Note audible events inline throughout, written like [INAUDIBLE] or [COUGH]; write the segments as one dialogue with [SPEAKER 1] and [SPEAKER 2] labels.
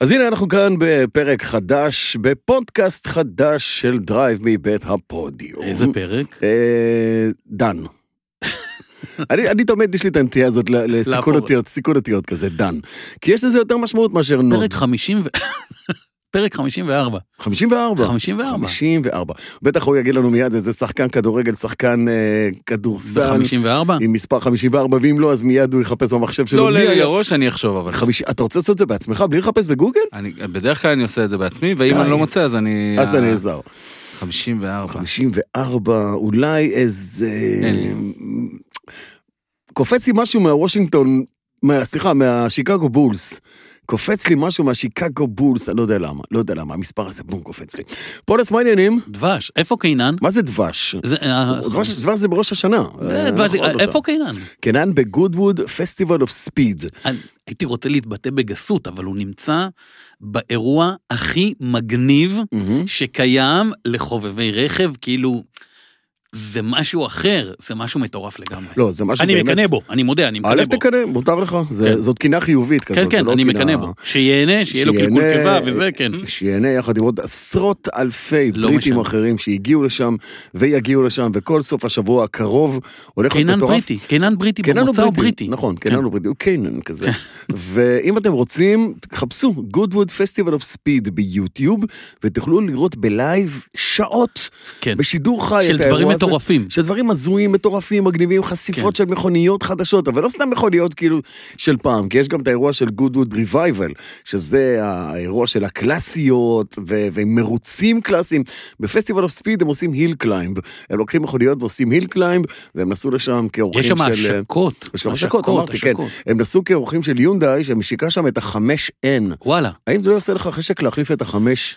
[SPEAKER 1] אז הנה אנחנו כאן בפרק חדש, בפודקאסט חדש של דרייב מבית הפודיום.
[SPEAKER 2] איזה פרק?
[SPEAKER 1] אה, דן.
[SPEAKER 3] [LAUGHS]
[SPEAKER 1] אני, אני תמיד יש לי את הנטייה הזאת ל- לסיכון
[SPEAKER 2] לעבור.
[SPEAKER 1] אותיות, סיכון אותיות כזה, דן. כי יש לזה יותר משמעות מאשר נוד.
[SPEAKER 2] פרק 50 ו... [LAUGHS] פרק 54.
[SPEAKER 1] 54.
[SPEAKER 2] 54.
[SPEAKER 1] 54. בטח הוא יגיד לנו מיד איזה שחקן כדורגל, שחקן אה, כדורסל,
[SPEAKER 2] ב-54?
[SPEAKER 1] עם מספר 54, ואם לא, אז מיד הוא יחפש במחשב שלו.
[SPEAKER 3] לא
[SPEAKER 1] מי
[SPEAKER 3] עולה לי
[SPEAKER 1] היה-
[SPEAKER 3] לראש, אני אחשוב, אבל
[SPEAKER 1] חמיש... אתה רוצה לעשות את זה בעצמך בלי לחפש בגוגל?
[SPEAKER 3] אני, בדרך כלל אני עושה את זה בעצמי, ואם
[SPEAKER 1] די.
[SPEAKER 3] אני לא מוצא אז אני...
[SPEAKER 1] אז
[SPEAKER 2] אה,
[SPEAKER 1] אתה נעזר.
[SPEAKER 3] 54.
[SPEAKER 1] 54, אולי איזה...
[SPEAKER 3] אין לי.
[SPEAKER 1] קופץ לי משהו מהוושינגטון, מה, סליחה, מהשיקגו בולס. קופץ לי משהו מהשיקגו בולס, אני לא יודע למה, לא יודע למה, המספר הזה בום קופץ לי. פולס, מה העניינים?
[SPEAKER 2] דבש. איפה קינן?
[SPEAKER 1] מה זה דבש?
[SPEAKER 2] זה, אה,
[SPEAKER 1] דבש דבש זה בראש השנה.
[SPEAKER 2] זה אה, דבש.
[SPEAKER 1] אנחנו עוד לא
[SPEAKER 2] איפה
[SPEAKER 1] שם.
[SPEAKER 2] קינן?
[SPEAKER 1] קנן בגודווד פסטיבל אוף ספיד.
[SPEAKER 2] אני- הייתי רוצה להתבטא בגסות, אבל הוא נמצא באירוע הכי מגניב
[SPEAKER 1] Mm-hmm.
[SPEAKER 2] שקיים לחובבי רכב, כאילו, זה משהו אחר, זה משהו מטורף לגמרי.
[SPEAKER 1] לא, זה משהו
[SPEAKER 2] אני
[SPEAKER 1] באמת...
[SPEAKER 2] מקנא בו, אני מודה, אני
[SPEAKER 1] א'
[SPEAKER 2] מקנא בו.
[SPEAKER 1] תקנא, מותר לך, זה-
[SPEAKER 2] כן.
[SPEAKER 1] זאת קינה חיובית כזאת.
[SPEAKER 2] כן,
[SPEAKER 1] זה
[SPEAKER 2] כן,
[SPEAKER 1] לא
[SPEAKER 2] אני
[SPEAKER 1] קינה-
[SPEAKER 2] מקנא בו. שיהנה, שיהיה לו
[SPEAKER 1] שיהנה-
[SPEAKER 2] קלקול קיבה וזה,
[SPEAKER 1] [LAUGHS]
[SPEAKER 2] כן.
[SPEAKER 1] שיהנה יחד עם עוד עשרות אלפי
[SPEAKER 2] לא
[SPEAKER 1] בריטים
[SPEAKER 2] משנה.
[SPEAKER 1] אחרים שהגיעו לשם ויגיעו לשם, וכל סוף השבוע הקרוב הולך להיות
[SPEAKER 2] קינן
[SPEAKER 1] מטורף.
[SPEAKER 2] בריטי, קינן בריטי, במוצא הוא בריטי. כן.
[SPEAKER 1] נכון, קינן הוא בריטי, הוא קיינן כזה. ואם אתם רוצים, חפשו Goodwood Festival of Speed ביוטיוב, ותוכלו לראות בלייב שעות,
[SPEAKER 2] כן.
[SPEAKER 1] בשידור חי,
[SPEAKER 2] של
[SPEAKER 1] את האירוע
[SPEAKER 2] דברים
[SPEAKER 1] הזה.
[SPEAKER 2] מטורפים. כן.
[SPEAKER 1] של דברים הזויים, מטורפים, מגניבים, חשיפות של מכוניות חדשות, אבל לא סתם מכוניות כאילו של פעם, כי יש גם את האירוע של Goodwood Revival, שזה האירוע של הקלאסיות ו- ומרוצים קלאסיים. בפסטיבל אוף ספיד הם עושים היל קליימב, הם לוקחים מכוניות ועושים היל קליימב, והם נסעו לשם כאורחים
[SPEAKER 2] יש
[SPEAKER 1] של...
[SPEAKER 2] שם השקות.
[SPEAKER 1] יש גם השקות, אמרתי, כן. הם נסעו כאורחים של יונדאי שמשיקה שם את ה-5N.
[SPEAKER 2] וואלה,
[SPEAKER 1] האם זה לא יעשה לך חשק להחליף את החמש? [LAUGHS]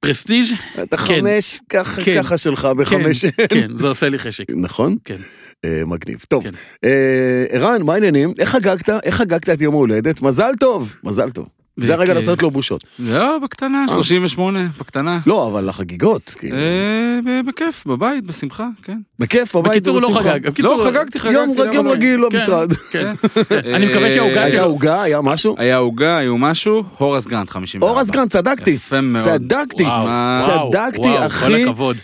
[SPEAKER 2] פרסטיג'?
[SPEAKER 1] את החמש ככה
[SPEAKER 2] כן.
[SPEAKER 1] ככה שלך
[SPEAKER 2] כן,
[SPEAKER 1] בחמש N.
[SPEAKER 2] כן, זה עושה לי חשק.
[SPEAKER 1] נכון? [LAUGHS]
[SPEAKER 2] כן.
[SPEAKER 1] אה, מגניב. טוב,
[SPEAKER 2] כן.
[SPEAKER 1] אה, ערן, מה העניינים? איך חגגת? איך חגגת את יום ההולדת? מזל טוב! מזל טוב. זה הרגע
[SPEAKER 2] וכן.
[SPEAKER 1] לעשות לו בושות.
[SPEAKER 3] לא, בקטנה,
[SPEAKER 1] אה.
[SPEAKER 3] 38, בקטנה.
[SPEAKER 1] לא, אבל החגיגות, כאילו.
[SPEAKER 3] אה, ב- בכיף, בבית, בשמחה, כן.
[SPEAKER 1] בכיף, בבית
[SPEAKER 2] בקיצור, לא
[SPEAKER 1] ובשמחה.
[SPEAKER 2] חגג.
[SPEAKER 3] לא,
[SPEAKER 2] בקיצור,
[SPEAKER 3] חגגתי, חגגתי.
[SPEAKER 1] יום
[SPEAKER 3] לא
[SPEAKER 1] רג- יום
[SPEAKER 3] חגגתי.
[SPEAKER 1] רגיל
[SPEAKER 2] כן,
[SPEAKER 1] במשרד. [LAUGHS]
[SPEAKER 2] כן.
[SPEAKER 3] אה,
[SPEAKER 2] אני מקווה שהעוגה
[SPEAKER 1] הייתה
[SPEAKER 2] שלו...
[SPEAKER 1] עוגה, היה
[SPEAKER 2] אה,
[SPEAKER 1] משהו?
[SPEAKER 3] היה עוגה, היו משהו, הורס גרנט 54.
[SPEAKER 1] אורז גרנט, צדקתי.
[SPEAKER 3] יפה מאוד.
[SPEAKER 1] צדקתי.
[SPEAKER 3] וואו,
[SPEAKER 2] וואו,
[SPEAKER 1] צדקתי,
[SPEAKER 2] וואו,
[SPEAKER 1] אחי.
[SPEAKER 2] כל הכבוד.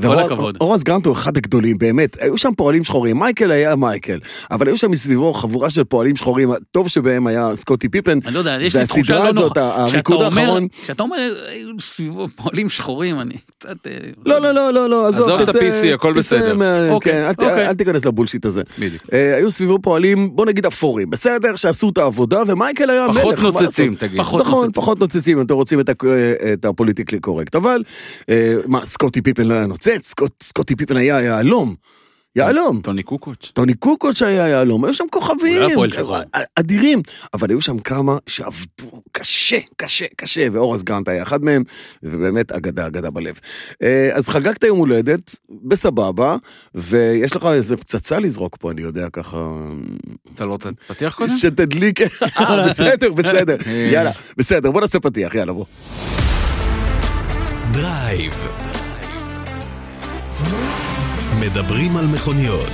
[SPEAKER 2] כל הכבוד.
[SPEAKER 1] אורז גרנט הוא אחד הגדולים, באמת. היו שם פועלים שחורים, מייקל היה מייקל, אבל היו שם מסביבו חבורה של פועלים שחורים, הטוב שבהם היה סקוטי פיפן.
[SPEAKER 2] אני לא יודע, יש לי תחושה
[SPEAKER 1] והסדרה
[SPEAKER 2] לא
[SPEAKER 1] הזאת,
[SPEAKER 2] נוחה.
[SPEAKER 1] הריקוד
[SPEAKER 2] כשאתה אומר-
[SPEAKER 1] האחרון.
[SPEAKER 2] כשאתה אומר, היו סביבו פועלים שחורים, אני קצת... אה,
[SPEAKER 1] לא, לא, לא, לא, לא, עזוב,
[SPEAKER 3] עזוב את ה-PC, הכל
[SPEAKER 1] תצא
[SPEAKER 3] בסדר.
[SPEAKER 1] מה-
[SPEAKER 2] אוקיי,
[SPEAKER 1] כן, אל ת-
[SPEAKER 2] אוקיי.
[SPEAKER 1] אל תיכנס לבולשיט הזה.
[SPEAKER 3] בדיוק.
[SPEAKER 1] אה, היו סביבו פועלים, בוא נגיד אפורים, בסדר, שעשו את העבודה, ומייקל היה המלך.
[SPEAKER 3] פחות
[SPEAKER 1] מה
[SPEAKER 3] נוצצים,
[SPEAKER 1] לעשות?
[SPEAKER 3] תגיד.
[SPEAKER 2] פחות
[SPEAKER 1] נכון,
[SPEAKER 2] נוצצים.
[SPEAKER 1] פחות נוצצים, אם אתם רוצים את ה- אה, את הפוליטיקלי קורקט. אבל, אה, מה, סקוטי פיפן לא היה נוצץ? סקוט- סקוטי פיפן היה יהלום. יהלום.
[SPEAKER 3] טוני קוקוץ'.
[SPEAKER 1] טוני קוקוט שהיה יהלום, היו שם כוכבים, אה,
[SPEAKER 2] הוא היה פועל שחור.
[SPEAKER 1] אדירים, אבל היו שם כמה שעבדו קשה, קשה, קשה, ואורז גרנט היה אחד מהם, ובאמת אגדה, אגדה בלב. אה, אז חגגת יום הולדת, בסבבה, ויש לך איזה פצצה לזרוק פה, אני יודע, ככה...
[SPEAKER 3] אתה לא רוצה פתיח קודם?
[SPEAKER 1] שתדליק, אה, בסדר,
[SPEAKER 2] [LAUGHS]
[SPEAKER 1] בסדר, יאללה, בסדר, בוא נעשה פתיח, יאללה, בוא.
[SPEAKER 4] דרייב. מדברים על מכוניות.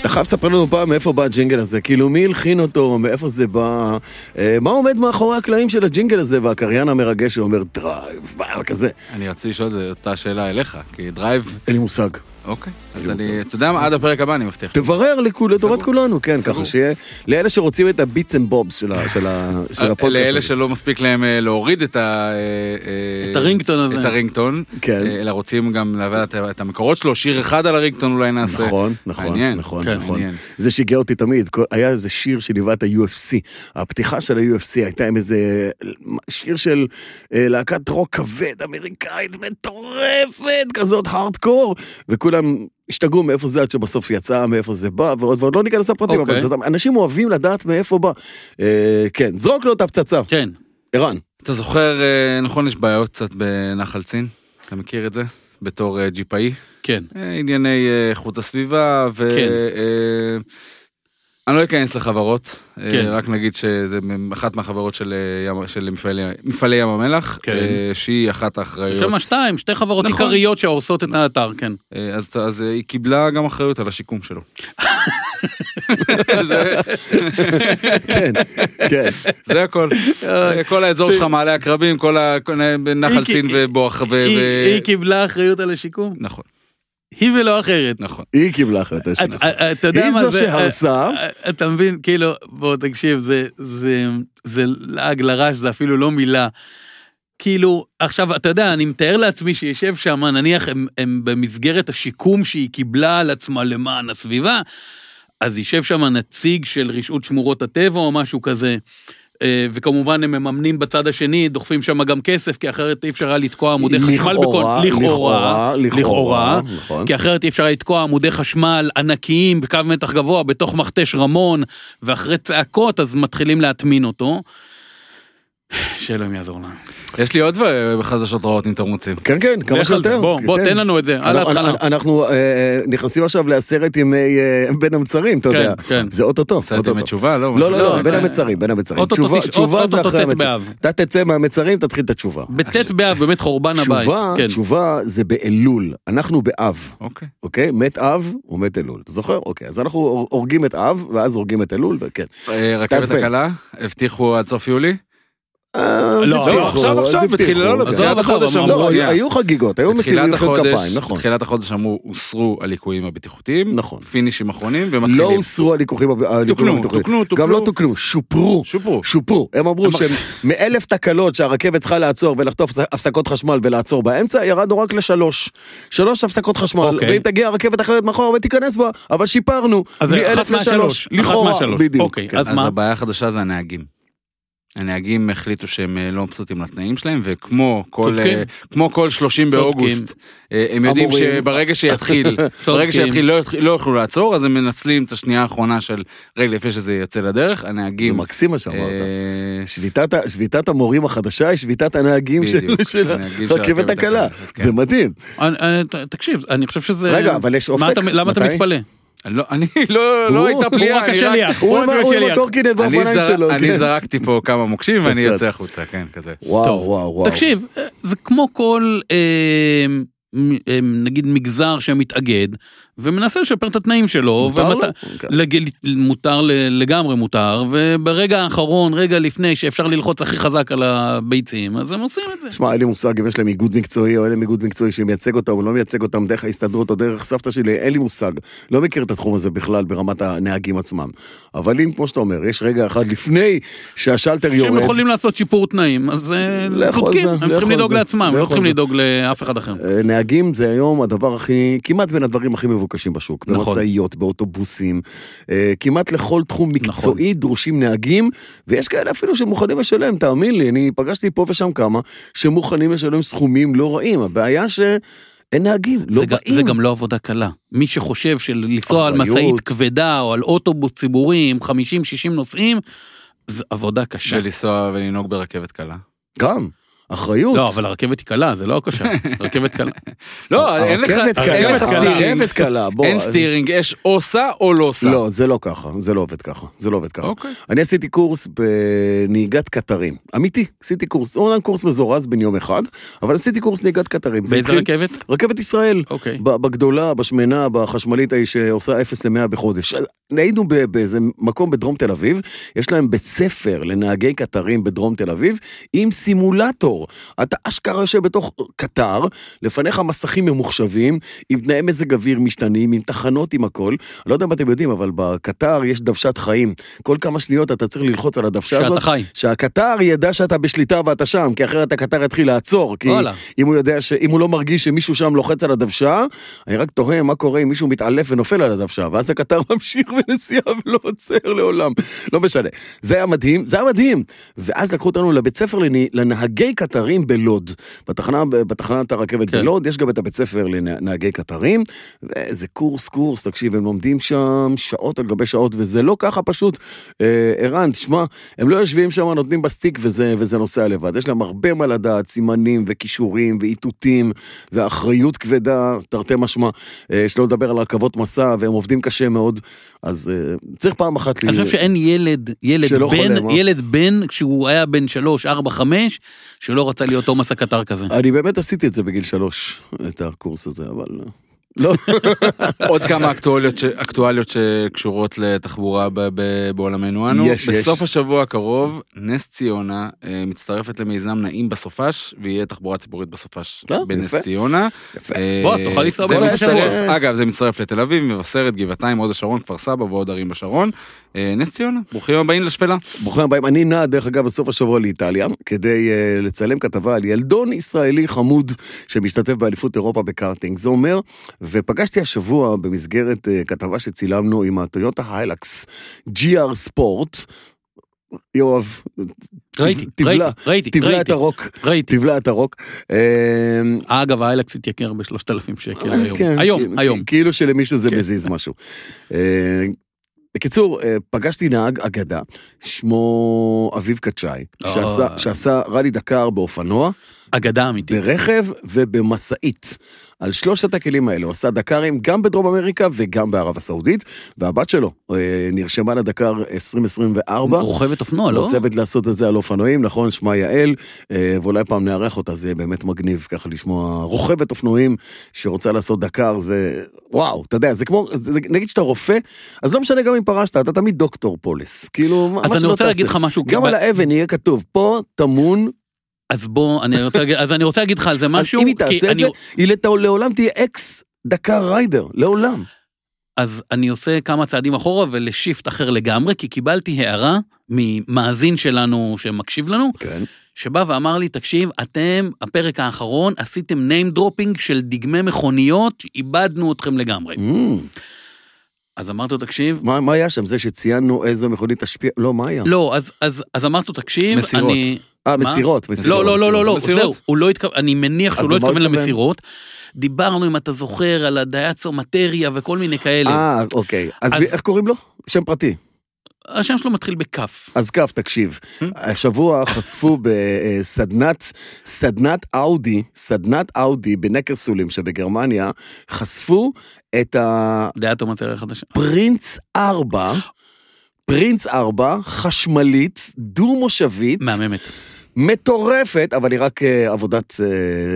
[SPEAKER 1] אתה חייב לספר לנו פעם מאיפה בא הג'ינגל הזה, כאילו מי הלחין אותו, מאיפה זה בא, אה, מה עומד מאחורי הקלעים של הג'ינגל הזה, והקריין המרגש שאומר דרייב, וואו, כזה,
[SPEAKER 3] אני רציתי לשאול את זה, אותה שאלה אליך, כי דרייב,
[SPEAKER 1] אין לי מושג.
[SPEAKER 3] אוקיי. אז
[SPEAKER 1] אין לי
[SPEAKER 3] אני, אתה יודע מה, עד הפרק הבא אני מבטיח.
[SPEAKER 1] תברר לכול- לטובת
[SPEAKER 3] סגור.
[SPEAKER 1] כולנו, כן,
[SPEAKER 3] סגור.
[SPEAKER 1] ככה שיהיה, לאלה שרוצים את הביטס אנד בובס של ה- של ה- של הפודקאסט.
[SPEAKER 3] אה, לאלה
[SPEAKER 1] הזה.
[SPEAKER 3] שלא מספיק להם אה, להוריד את ה... אה, אה,
[SPEAKER 2] את הרינגטון הזה.
[SPEAKER 3] את הרינגטון.
[SPEAKER 1] כן.
[SPEAKER 3] אה, אלא רוצים גם לדעת את המקורות שלו, שיר אחד על הרינגטון אולי נעשה.
[SPEAKER 1] נכון, נכון,
[SPEAKER 3] מעניין.
[SPEAKER 1] נכון,
[SPEAKER 2] כן,
[SPEAKER 1] נכון.
[SPEAKER 3] מעניין.
[SPEAKER 1] זה שיגע אותי תמיד, כל- היה איזה שיר שליווה את ה-UFC. הפתיחה של ה-UFC הייתה עם איזה שיר של אה, להקת רוק כבד, אמריקאית מטורפת, כזאת הארדקור, וכולם השתגעו מאיפה זה עד שבסוף יצא, מאיפה זה בא, ועוד ועוד לא ניכנס לפרטים,
[SPEAKER 3] אוקיי.
[SPEAKER 1] אבל זאת- אנשים אוהבים לדעת מאיפה בא. אה, כן, זרוק לו את הפצצה.
[SPEAKER 2] כן.
[SPEAKER 3] [LAUGHS]
[SPEAKER 1] ערן,
[SPEAKER 3] אתה זוכר, אה, נכון, יש בעיות קצת בנחל צין? אתה מכיר את זה? בתור אה, ג'יפאי?
[SPEAKER 2] כן.
[SPEAKER 3] אה, ענייני אה, איכות הסביבה ו...
[SPEAKER 2] כן.
[SPEAKER 3] אה, אני לא אכנס לחברות, אה,
[SPEAKER 2] כן.
[SPEAKER 3] רק נגיד שזה מ- אחת מהחברות של, אה, ים- של מפעלי, מפעלי ים המלח,
[SPEAKER 2] כן.
[SPEAKER 3] אה, שהיא אחת האחראיות.
[SPEAKER 2] יש שם שתיים, שתי חברות
[SPEAKER 3] נכון.
[SPEAKER 2] עיקריות שהורסות את האתר, כן.
[SPEAKER 3] אה, אז, אז אה, היא קיבלה גם אחריות על השיקום שלו.
[SPEAKER 1] כן, כן.
[SPEAKER 3] זה הכל.
[SPEAKER 2] [LAUGHS]
[SPEAKER 3] אה, כל האזור שלך, מעלה הקרבים, כל ה- כל-
[SPEAKER 2] היא
[SPEAKER 3] נחל
[SPEAKER 2] כי-
[SPEAKER 3] צין ובואך ו...
[SPEAKER 2] היא
[SPEAKER 3] ו-
[SPEAKER 2] היא קיבלה אחריות על השיקום?
[SPEAKER 3] נכון,
[SPEAKER 2] היא ולא אחרת.
[SPEAKER 3] נכון.
[SPEAKER 1] היא קיבלה החלטה
[SPEAKER 2] את-
[SPEAKER 1] שלה.
[SPEAKER 2] את- אתה יודע
[SPEAKER 1] היא
[SPEAKER 2] מה
[SPEAKER 1] זו
[SPEAKER 2] זה...
[SPEAKER 1] שהרסה.
[SPEAKER 2] אה, אתה מבין, כאילו, בוא תקשיב, זה- זה- זה לעג לרש, זה אפילו לא מילה. כאילו, עכשיו, אתה יודע, אני מתאר לעצמי שישב שם, נניח הם, הם במסגרת השיקום שהיא קיבלה על עצמה למען הסביבה, אז יישב שם נציג של רשעות שמורות הטבע או משהו כזה, אה, וכמובן הם מממנים בצד השני, דוחפים שם גם כסף, כי אחרת אי אפשר היה לתקוע עמודי חשמל בכל...
[SPEAKER 1] לכאורה, לכאורה, לכאורה, נכון.
[SPEAKER 2] כי אחרת אי אפשר היה לתקוע עמודי חשמל ענקיים בקו מתח גבוה בתוך מכתש רמון, ואחרי צעקות אז מתחילים להטמין אותו. שאלוהים יעזור לנו.
[SPEAKER 3] יש לי עוד דבר- חדשות רעות אם אתם רוצים.
[SPEAKER 1] כן, כן, כמה
[SPEAKER 2] לך על זה,
[SPEAKER 1] שיותר.
[SPEAKER 2] בוא, בוא,
[SPEAKER 1] כן.
[SPEAKER 2] תן לנו את זה, על
[SPEAKER 1] אנחנו-
[SPEAKER 2] ההתחלה.
[SPEAKER 1] אנחנו אה, נכנסים עכשיו לעשרת ימי אה, בין המצרים, אתה
[SPEAKER 2] כן,
[SPEAKER 1] יודע.
[SPEAKER 2] כן.
[SPEAKER 1] זה אוטוטו,
[SPEAKER 3] עשית
[SPEAKER 1] אוטוטו.
[SPEAKER 3] עם התשובה? לא,
[SPEAKER 1] לא,
[SPEAKER 3] משהו
[SPEAKER 1] לא,
[SPEAKER 3] כזה.
[SPEAKER 1] לא,
[SPEAKER 2] לא,
[SPEAKER 1] בין
[SPEAKER 2] אה,
[SPEAKER 1] המצרים, בין המצרים.
[SPEAKER 2] אוטוטו
[SPEAKER 1] תשובה-
[SPEAKER 2] תש-
[SPEAKER 1] תשובה זה
[SPEAKER 2] אוטוטו
[SPEAKER 1] אחרי
[SPEAKER 2] ט'
[SPEAKER 1] המצרים.
[SPEAKER 2] באב.
[SPEAKER 1] אתה תצא מהמצרים, תתחיל את התשובה.
[SPEAKER 2] בט' באב, באמת חורבן הבית.
[SPEAKER 1] תשובה,
[SPEAKER 2] כן.
[SPEAKER 1] תשובה זה באלול, אנחנו באב,
[SPEAKER 3] אוקיי.
[SPEAKER 1] אוקיי? מת אב ומת אלול, אתה זוכר? אוקיי, אז אנחנו הור- הורגים את אב, ואז הורגים את אלול, וכן.
[SPEAKER 3] אה, רכבת
[SPEAKER 1] תעצבן.
[SPEAKER 3] הקלה, הבטיחו עד סוף יולי.
[SPEAKER 1] אה, אז
[SPEAKER 2] לא,
[SPEAKER 1] הבטיחו,
[SPEAKER 3] עכשיו,
[SPEAKER 1] אז
[SPEAKER 3] עכשיו,
[SPEAKER 1] הבטיחו.
[SPEAKER 3] בתחילה, לא,
[SPEAKER 1] אוקיי.
[SPEAKER 2] בתחילת החודש
[SPEAKER 1] לא,
[SPEAKER 2] אמרו,
[SPEAKER 1] היו-
[SPEAKER 3] שנייה.
[SPEAKER 1] היו חגיגות, היו מסיבים
[SPEAKER 3] בתחילת
[SPEAKER 1] מחיאות
[SPEAKER 3] החודש-
[SPEAKER 1] כפיים, נכון.
[SPEAKER 3] בתחילת החודש אמרו, הוסרו הליקויים הבטיחותיים.
[SPEAKER 1] נכון.
[SPEAKER 3] פינישים אחרונים ומתחילים.
[SPEAKER 1] לא הוסרו הליקוחים הב- הליקויים
[SPEAKER 3] תוקנו,
[SPEAKER 1] הבטיחותיים.
[SPEAKER 3] תוקנו, תוקנו.
[SPEAKER 1] גם לא תוקנו, שופרו.
[SPEAKER 3] שופרו.
[SPEAKER 1] שופרו. הם אמרו שהם מאלף תקלות שהרכבת צריכה לעצור ולחטוף הפסקות חשמל ולעצור באמצע, ירדנו רק לשלוש. שלוש הפסקות חשמל,
[SPEAKER 2] אוקיי.
[SPEAKER 1] ואם תגיע רכבת אחרת מחר ותיכנס בה, אבל שיפרנו.
[SPEAKER 2] אז
[SPEAKER 1] מאלף
[SPEAKER 2] אחת מהשלוש,
[SPEAKER 1] לשלוש,
[SPEAKER 2] אחת
[SPEAKER 1] לכאורה,
[SPEAKER 2] מהשלוש.
[SPEAKER 1] בדיוק,
[SPEAKER 2] אוקיי,
[SPEAKER 1] כן.
[SPEAKER 2] אז
[SPEAKER 3] אז
[SPEAKER 2] מה?
[SPEAKER 3] הבעיה החדשה זה הנהגים. הנהגים החליטו שהם אה, לא מבסוטים לתנאים שלהם, וכמו כל,
[SPEAKER 2] צודקים.
[SPEAKER 3] אה, כמו כל 30
[SPEAKER 2] צודקים.
[SPEAKER 3] באוגוסט, אה, הם יודעים
[SPEAKER 1] אמורים.
[SPEAKER 3] שברגע
[SPEAKER 1] [LAUGHS]
[SPEAKER 3] שיתחיל,
[SPEAKER 2] צודקים.
[SPEAKER 3] ברגע שיתחיל לא, יתח- לא יוכלו לעצור, אז הם מנצלים את השנייה האחרונה של רגע לפני שזה יצא לדרך,
[SPEAKER 1] זה
[SPEAKER 3] הנהגים...
[SPEAKER 1] כן. מקסים מה שאמרת.
[SPEAKER 3] אה,
[SPEAKER 1] שביתת, ה- שביתת המורים החדשה היא שביתת הנהגים של,
[SPEAKER 3] בדיוק,
[SPEAKER 1] של
[SPEAKER 3] הנהגים של
[SPEAKER 1] הרכבת
[SPEAKER 3] הרכבת
[SPEAKER 1] הקלה.
[SPEAKER 3] הקלה, אז כן.
[SPEAKER 1] זה מדהים.
[SPEAKER 2] אני- אני- ת- תקשיב, אני חושב שזה...
[SPEAKER 1] רגע, אבל יש
[SPEAKER 2] מה
[SPEAKER 1] אופק?
[SPEAKER 2] אתה- למה אתה
[SPEAKER 1] מתי?
[SPEAKER 2] מתפלא?
[SPEAKER 3] לא, אני לא,
[SPEAKER 1] [LAUGHS]
[SPEAKER 3] לא
[SPEAKER 1] הוא-
[SPEAKER 3] הייתה
[SPEAKER 1] הוא
[SPEAKER 3] פליאה,
[SPEAKER 2] רק
[SPEAKER 3] אני
[SPEAKER 2] השליח.
[SPEAKER 1] הוא עם ה-
[SPEAKER 2] מאוד
[SPEAKER 1] הוא עם
[SPEAKER 2] בשל יד.
[SPEAKER 1] הקורקינט
[SPEAKER 3] אני
[SPEAKER 1] והאופניים
[SPEAKER 3] זר-
[SPEAKER 1] שלו. כן.
[SPEAKER 3] אני זרקתי פה כמה מוקשים ואני
[SPEAKER 1] פצצת.
[SPEAKER 3] יוצא החוצה, כן, כזה.
[SPEAKER 1] וואו, וואו, וואו.
[SPEAKER 2] תקשיב, אה, זה כמו כל, אה, מ- אה, נגיד, מגזר שמתאגד ומנסה לשפר את התנאים שלו.
[SPEAKER 1] מותר לו?
[SPEAKER 2] ומת-
[SPEAKER 1] אוקיי.
[SPEAKER 2] לג... מותר, ל- לגמרי מותר, וברגע האחרון, רגע לפני שאפשר ללחוץ הכי חזק על הביצים, אז הם עושים את זה.
[SPEAKER 1] שמע, אין לי מושג אם יש להם איגוד מקצועי או אין להם איגוד מקצועי שמייצג אותם או לא מייצג אותם דרך ההסתדרות או דרך סבתא שלי, אין לי מושג. לא מכיר את התחום הזה בכלל ברמת הנהגים עצמם. אבל אם, כמו שאתה אומר, יש רגע אחד לפני שהשלטר
[SPEAKER 2] שהם
[SPEAKER 1] יורד...
[SPEAKER 2] יכולים לעשות שיפור תנאים, אז אה,
[SPEAKER 1] לכו על
[SPEAKER 2] צודקים,
[SPEAKER 1] זה,
[SPEAKER 2] הם
[SPEAKER 1] לכו
[SPEAKER 2] צריכים
[SPEAKER 1] על
[SPEAKER 2] לדאוג
[SPEAKER 1] זה,
[SPEAKER 2] לעצמם,
[SPEAKER 1] לכו
[SPEAKER 2] לא
[SPEAKER 1] על
[SPEAKER 2] צריכים
[SPEAKER 1] זה.
[SPEAKER 2] לדאוג לאף אחד אחר.
[SPEAKER 1] אה, נהגים זה היום הדבר הכי, כמעט בין הדברים הכי מבוקשים בשוק.
[SPEAKER 2] נכון.
[SPEAKER 1] במשאיות, באוטובוסים, אה, כמעט לכל תחום
[SPEAKER 2] נכון.
[SPEAKER 1] מקצועי דרושים נהגים, ויש כאלה אפילו שמוכנים לשלם, תאמין לי, אני פגשתי פה ושם כמה שמוכנים לשלם סכומים לא רעים. הבעיה ש... אין נהגים, לא
[SPEAKER 2] זה, ג-
[SPEAKER 1] באים.
[SPEAKER 2] זה גם לא עבודה קלה. מי שחושב שלנסוע על
[SPEAKER 1] אחריות.
[SPEAKER 2] משאית כבדה או על אוטובוס ציבורי עם 50-60 נוסעים, זה עבודה קשה.
[SPEAKER 3] ולנסוע ולנהוג ברכבת קלה.
[SPEAKER 1] גם, אחריות.
[SPEAKER 2] לא, אבל הרכבת היא קלה, זה לא
[SPEAKER 1] [LAUGHS]
[SPEAKER 2] קשה. רכבת קלה.
[SPEAKER 3] לא, אין לך
[SPEAKER 1] הרכבת קלה,
[SPEAKER 3] אין לך סטירינג.
[SPEAKER 1] הרכבת קלה, בוא.
[SPEAKER 3] אין סטירינג, יש או סע או לא סע.
[SPEAKER 1] לא, זה לא ככה, זה לא עובד ככה, זה לא עובד ככה.
[SPEAKER 3] אוקיי.
[SPEAKER 1] אני עשיתי קורס בנהיגת קטרים, אמיתי, עשיתי קורס, אומנם קורס מזורז בן יום אחד, אבל עשיתי קורס נהיגת קטרים. זה
[SPEAKER 2] באיזה
[SPEAKER 1] התחיל-
[SPEAKER 2] רכבת?
[SPEAKER 1] רכבת ישראל.
[SPEAKER 2] אוקיי.
[SPEAKER 1] ב- בגדולה, בשמנה, בחשמלית ההיא שעושה 0 ל-100 בחודש. היינו ב- באיזה מקום בדרום תל אביב, יש להם בית ספר לנהגי קטרים בדרום תל אביב, עם סימולטור. אתה אשכרה יושב בתוך קטר, לפניך מסכים ממוחשבים, עם תנאי מזג אוויר משתנים, עם תחנות, עם הכל. לא יודע אם אתם יודעים, אבל בקטר יש דוושת חיים. כל כמה שניות אתה צריך ללחוץ על הדוושה
[SPEAKER 2] שאתה
[SPEAKER 1] הזאת.
[SPEAKER 2] חי.
[SPEAKER 1] שהקטר ידע שאתה בשליטה ואתה שם, כי אחרת הקטר יתחיל לעצור. כי
[SPEAKER 2] וואלה.
[SPEAKER 1] אם הוא יודע ש... אם הוא לא מרגיש שמישהו שם לוחץ על הדוושה, אני רק תוהה מה קורה אם מישהו מתעלף ונופל על הדוושה, ואז הקטר [LAUGHS] ממשיך בנסיעה ולא עוצר לעולם. לא משנה. זה היה מדהים, זה היה מדהים. ואז לקחו אותנו לבית ספר לנה... לנהגי קטר. קטרים בלוד. בתחנה, בתחנת הרכבת
[SPEAKER 2] כן.
[SPEAKER 1] בלוד, יש גם את הבית ספר לנהגי קטרים, וזה קורס, קורס, תקשיב, הם לומדים שם שעות על גבי שעות, וזה לא ככה פשוט. אה, ערן, תשמע, הם לא יושבים שם, נותנים בסטיק וזה, וזה נוסע לבד. יש להם הרבה מה לדעת, סימנים וכישורים ואיתותים, ואחריות כבדה, תרתי משמע, אה, שלא לדבר על הרכבות מסע, והם עובדים קשה מאוד, אז אה, צריך פעם אחת...
[SPEAKER 2] אני חושב שאין ילד, ילד
[SPEAKER 1] שלא חולם,
[SPEAKER 2] בן,
[SPEAKER 1] אה?
[SPEAKER 2] ילד בן, כשהוא היה בן שלוש, ארבע, חמש, שלא רצה להיות תומאס הקטר כזה.
[SPEAKER 1] אני באמת עשיתי את זה בגיל שלוש, את הקורס הזה, אבל... לא, [LAUGHS]
[SPEAKER 3] עוד כמה אקטואליות, ש... אקטואליות שקשורות לתחבורה ב... ב... בעולמנו אנו.
[SPEAKER 1] יש, יש.
[SPEAKER 3] בסוף השבוע הקרוב, נס ציונה אה, מצטרפת למיזם נעים בסופש, ויהיה תחבורה ציבורית בסופש
[SPEAKER 1] אה,
[SPEAKER 3] בנס
[SPEAKER 1] יפה.
[SPEAKER 3] ציונה.
[SPEAKER 1] יפה.
[SPEAKER 3] אה,
[SPEAKER 2] בוא, אז תוכל לנסוע
[SPEAKER 3] זה
[SPEAKER 2] בסוף
[SPEAKER 3] מצטרף-
[SPEAKER 1] השבוע.
[SPEAKER 3] אגב, זה מצטרף לתל אביב, מבשרת, גבעתיים, הוד השרון, כפר סבא ועוד ערים בשרון. אה, נס ציונה, ברוכים הבאים לשפלה.
[SPEAKER 1] ברוכים הבאים. אני נע, דרך אגב, בסוף השבוע לאיטליה, כדי uh, לצלם כתבה על ילדון ישראלי חמוד שמשתתף באליפות אירופה בקארטינג. זה אומר, ופגשתי השבוע במסגרת uh, כתבה שצילמנו עם הטויוטה היילקס GR ספורט. יואב, תב-
[SPEAKER 2] ראיתי,
[SPEAKER 1] תבלע,
[SPEAKER 2] ראיתי, ראיתי,
[SPEAKER 1] תבלע את
[SPEAKER 2] ראיתי,
[SPEAKER 1] הרוק,
[SPEAKER 2] ראיתי.
[SPEAKER 1] תבלע את הרוק. אה,
[SPEAKER 2] אגב, האיילקס התייקר בשלושת אלפים שקל כאילו, היום.
[SPEAKER 1] כן,
[SPEAKER 2] היום,
[SPEAKER 1] כי-
[SPEAKER 2] היום.
[SPEAKER 1] כי- כאילו שלמישהו זה
[SPEAKER 2] כן.
[SPEAKER 1] מזיז משהו. אה, בקיצור, אה, פגשתי נהג אגדה, שמו אביב קצ'אי,
[SPEAKER 2] אה.
[SPEAKER 1] שעשה- שעשה ראלי דקר באופנוע,
[SPEAKER 2] אגדה אמיתית.
[SPEAKER 1] ברכב ובמשאית. על שלושת הכלים האלה הוא עשה דקרים גם בדרום אמריקה וגם בערב הסעודית, והבת שלו אה, נרשמה לדקר 2024.
[SPEAKER 2] רוכבת אופנוע, לא?
[SPEAKER 1] רוצבת לעשות את זה על אופנועים, נכון, שמה יעל, אה, ואולי פעם נארח אותה, זה יהיה באמת מגניב ככה לשמוע רוכבת אופנועים שרוצה לעשות דקר, זה... וואו, אתה יודע, זה כמו, זה, נגיד שאתה רופא, אז לא משנה גם אם פרשת, אתה תמיד דוקטור פולס, כאילו, מה מה שלא
[SPEAKER 2] אז אני רוצה
[SPEAKER 1] תעשה.
[SPEAKER 2] להגיד לך משהו.
[SPEAKER 1] גם על האבן יהיה כתוב, פה טמון,
[SPEAKER 2] אז בוא, אני רוצה להגיד- אז אני רוצה להגיד לך על זה משהו.
[SPEAKER 1] אז אם היא
[SPEAKER 2] כי
[SPEAKER 1] תעשה את
[SPEAKER 2] אני-
[SPEAKER 1] זה, היא לת- לעולם תהיה אקס דקר ריידר, לעולם.
[SPEAKER 2] אז אני עושה כמה צעדים אחורה ולשיפט אחר לגמרי, כי קיבלתי הערה ממאזין שלנו שמקשיב לנו,
[SPEAKER 1] כן.
[SPEAKER 2] שבא ואמר לי, תקשיב, אתם, הפרק האחרון, עשיתם name dropping של דגמי מכוניות, איבדנו אתכם לגמרי. אז אמרת לו, תקשיב,
[SPEAKER 1] Mm. מה, מה היה שם? זה שציינו איזו מכונית תשפיע? לא, מה היה?
[SPEAKER 2] לא, אז, אז, אז אמרת לו, תקשיב,
[SPEAKER 3] מסירות.
[SPEAKER 2] אני...
[SPEAKER 1] אה,
[SPEAKER 2] מה?
[SPEAKER 1] מסירות, מסירות.
[SPEAKER 2] לא, לא, לא, לא, לא,
[SPEAKER 1] מסירות.
[SPEAKER 2] זהו, הוא לא התכוון, אני מניח
[SPEAKER 1] אז
[SPEAKER 2] שהוא לא
[SPEAKER 1] למה הוא
[SPEAKER 2] התכוון
[SPEAKER 1] התכוון?
[SPEAKER 2] למסירות. דיברנו, אם אתה זוכר, על הדייצו מטריה וכל מיני כאלה.
[SPEAKER 1] אה, אוקיי. אז
[SPEAKER 2] אז-
[SPEAKER 1] מי- איך קוראים לו? שם פרטי.
[SPEAKER 2] השם שלו מתחיל בכף.
[SPEAKER 1] אז כף, תקשיב. השבוע חשפו בסדנת, סדנת אאודי, סדנת אאודי בנקרסולים שבגרמניה, חשפו את
[SPEAKER 2] דייצו מטריה חדשה.
[SPEAKER 1] הפרינץ 4, פרינץ 4, חשמלית, דו-מושבית,
[SPEAKER 2] מהממת.
[SPEAKER 1] מטורפת, אבל היא רק אה, עבודת... אה,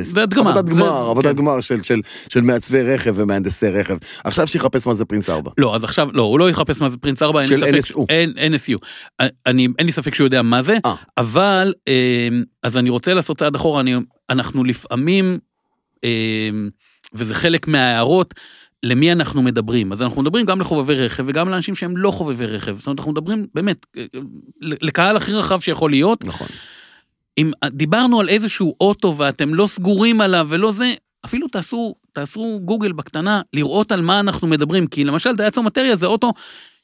[SPEAKER 2] זה הדגמה.
[SPEAKER 1] עבודת
[SPEAKER 2] זה-
[SPEAKER 1] גמר, עבודת
[SPEAKER 2] כן.
[SPEAKER 1] גמר של- של- של מעצבי רכב ומהנדסי רכב. עכשיו שיחפש מה זה פרינץ 4.
[SPEAKER 2] לא, אז עכשיו, לא, הוא לא יחפש מה זה פרינס 4, אין לי
[SPEAKER 1] של
[SPEAKER 2] ספק, ש-
[SPEAKER 1] NSU.
[SPEAKER 2] אין, NSU. אה, אני, אין לי ספק שהוא יודע מה זה,
[SPEAKER 1] אה.
[SPEAKER 2] אבל, אמ, אז אני רוצה לעשות צעד אחורה, אני, אנחנו לפעמים, אמ, וזה חלק מההערות, למי אנחנו מדברים. אז אנחנו מדברים גם לחובבי רכב וגם לאנשים שהם לא חובבי רכב. זאת אומרת, אנחנו מדברים באמת אה, לקהל הכי רחב שיכול להיות.
[SPEAKER 1] נכון.
[SPEAKER 2] אם אה, דיברנו על איזשהו אוטו ואתם לא סגורים עליו ולא זה, אפילו תעשו, תעשו גוגל בקטנה, לראות על מה אנחנו מדברים, כי למשל דייצו מטריה זה אוטו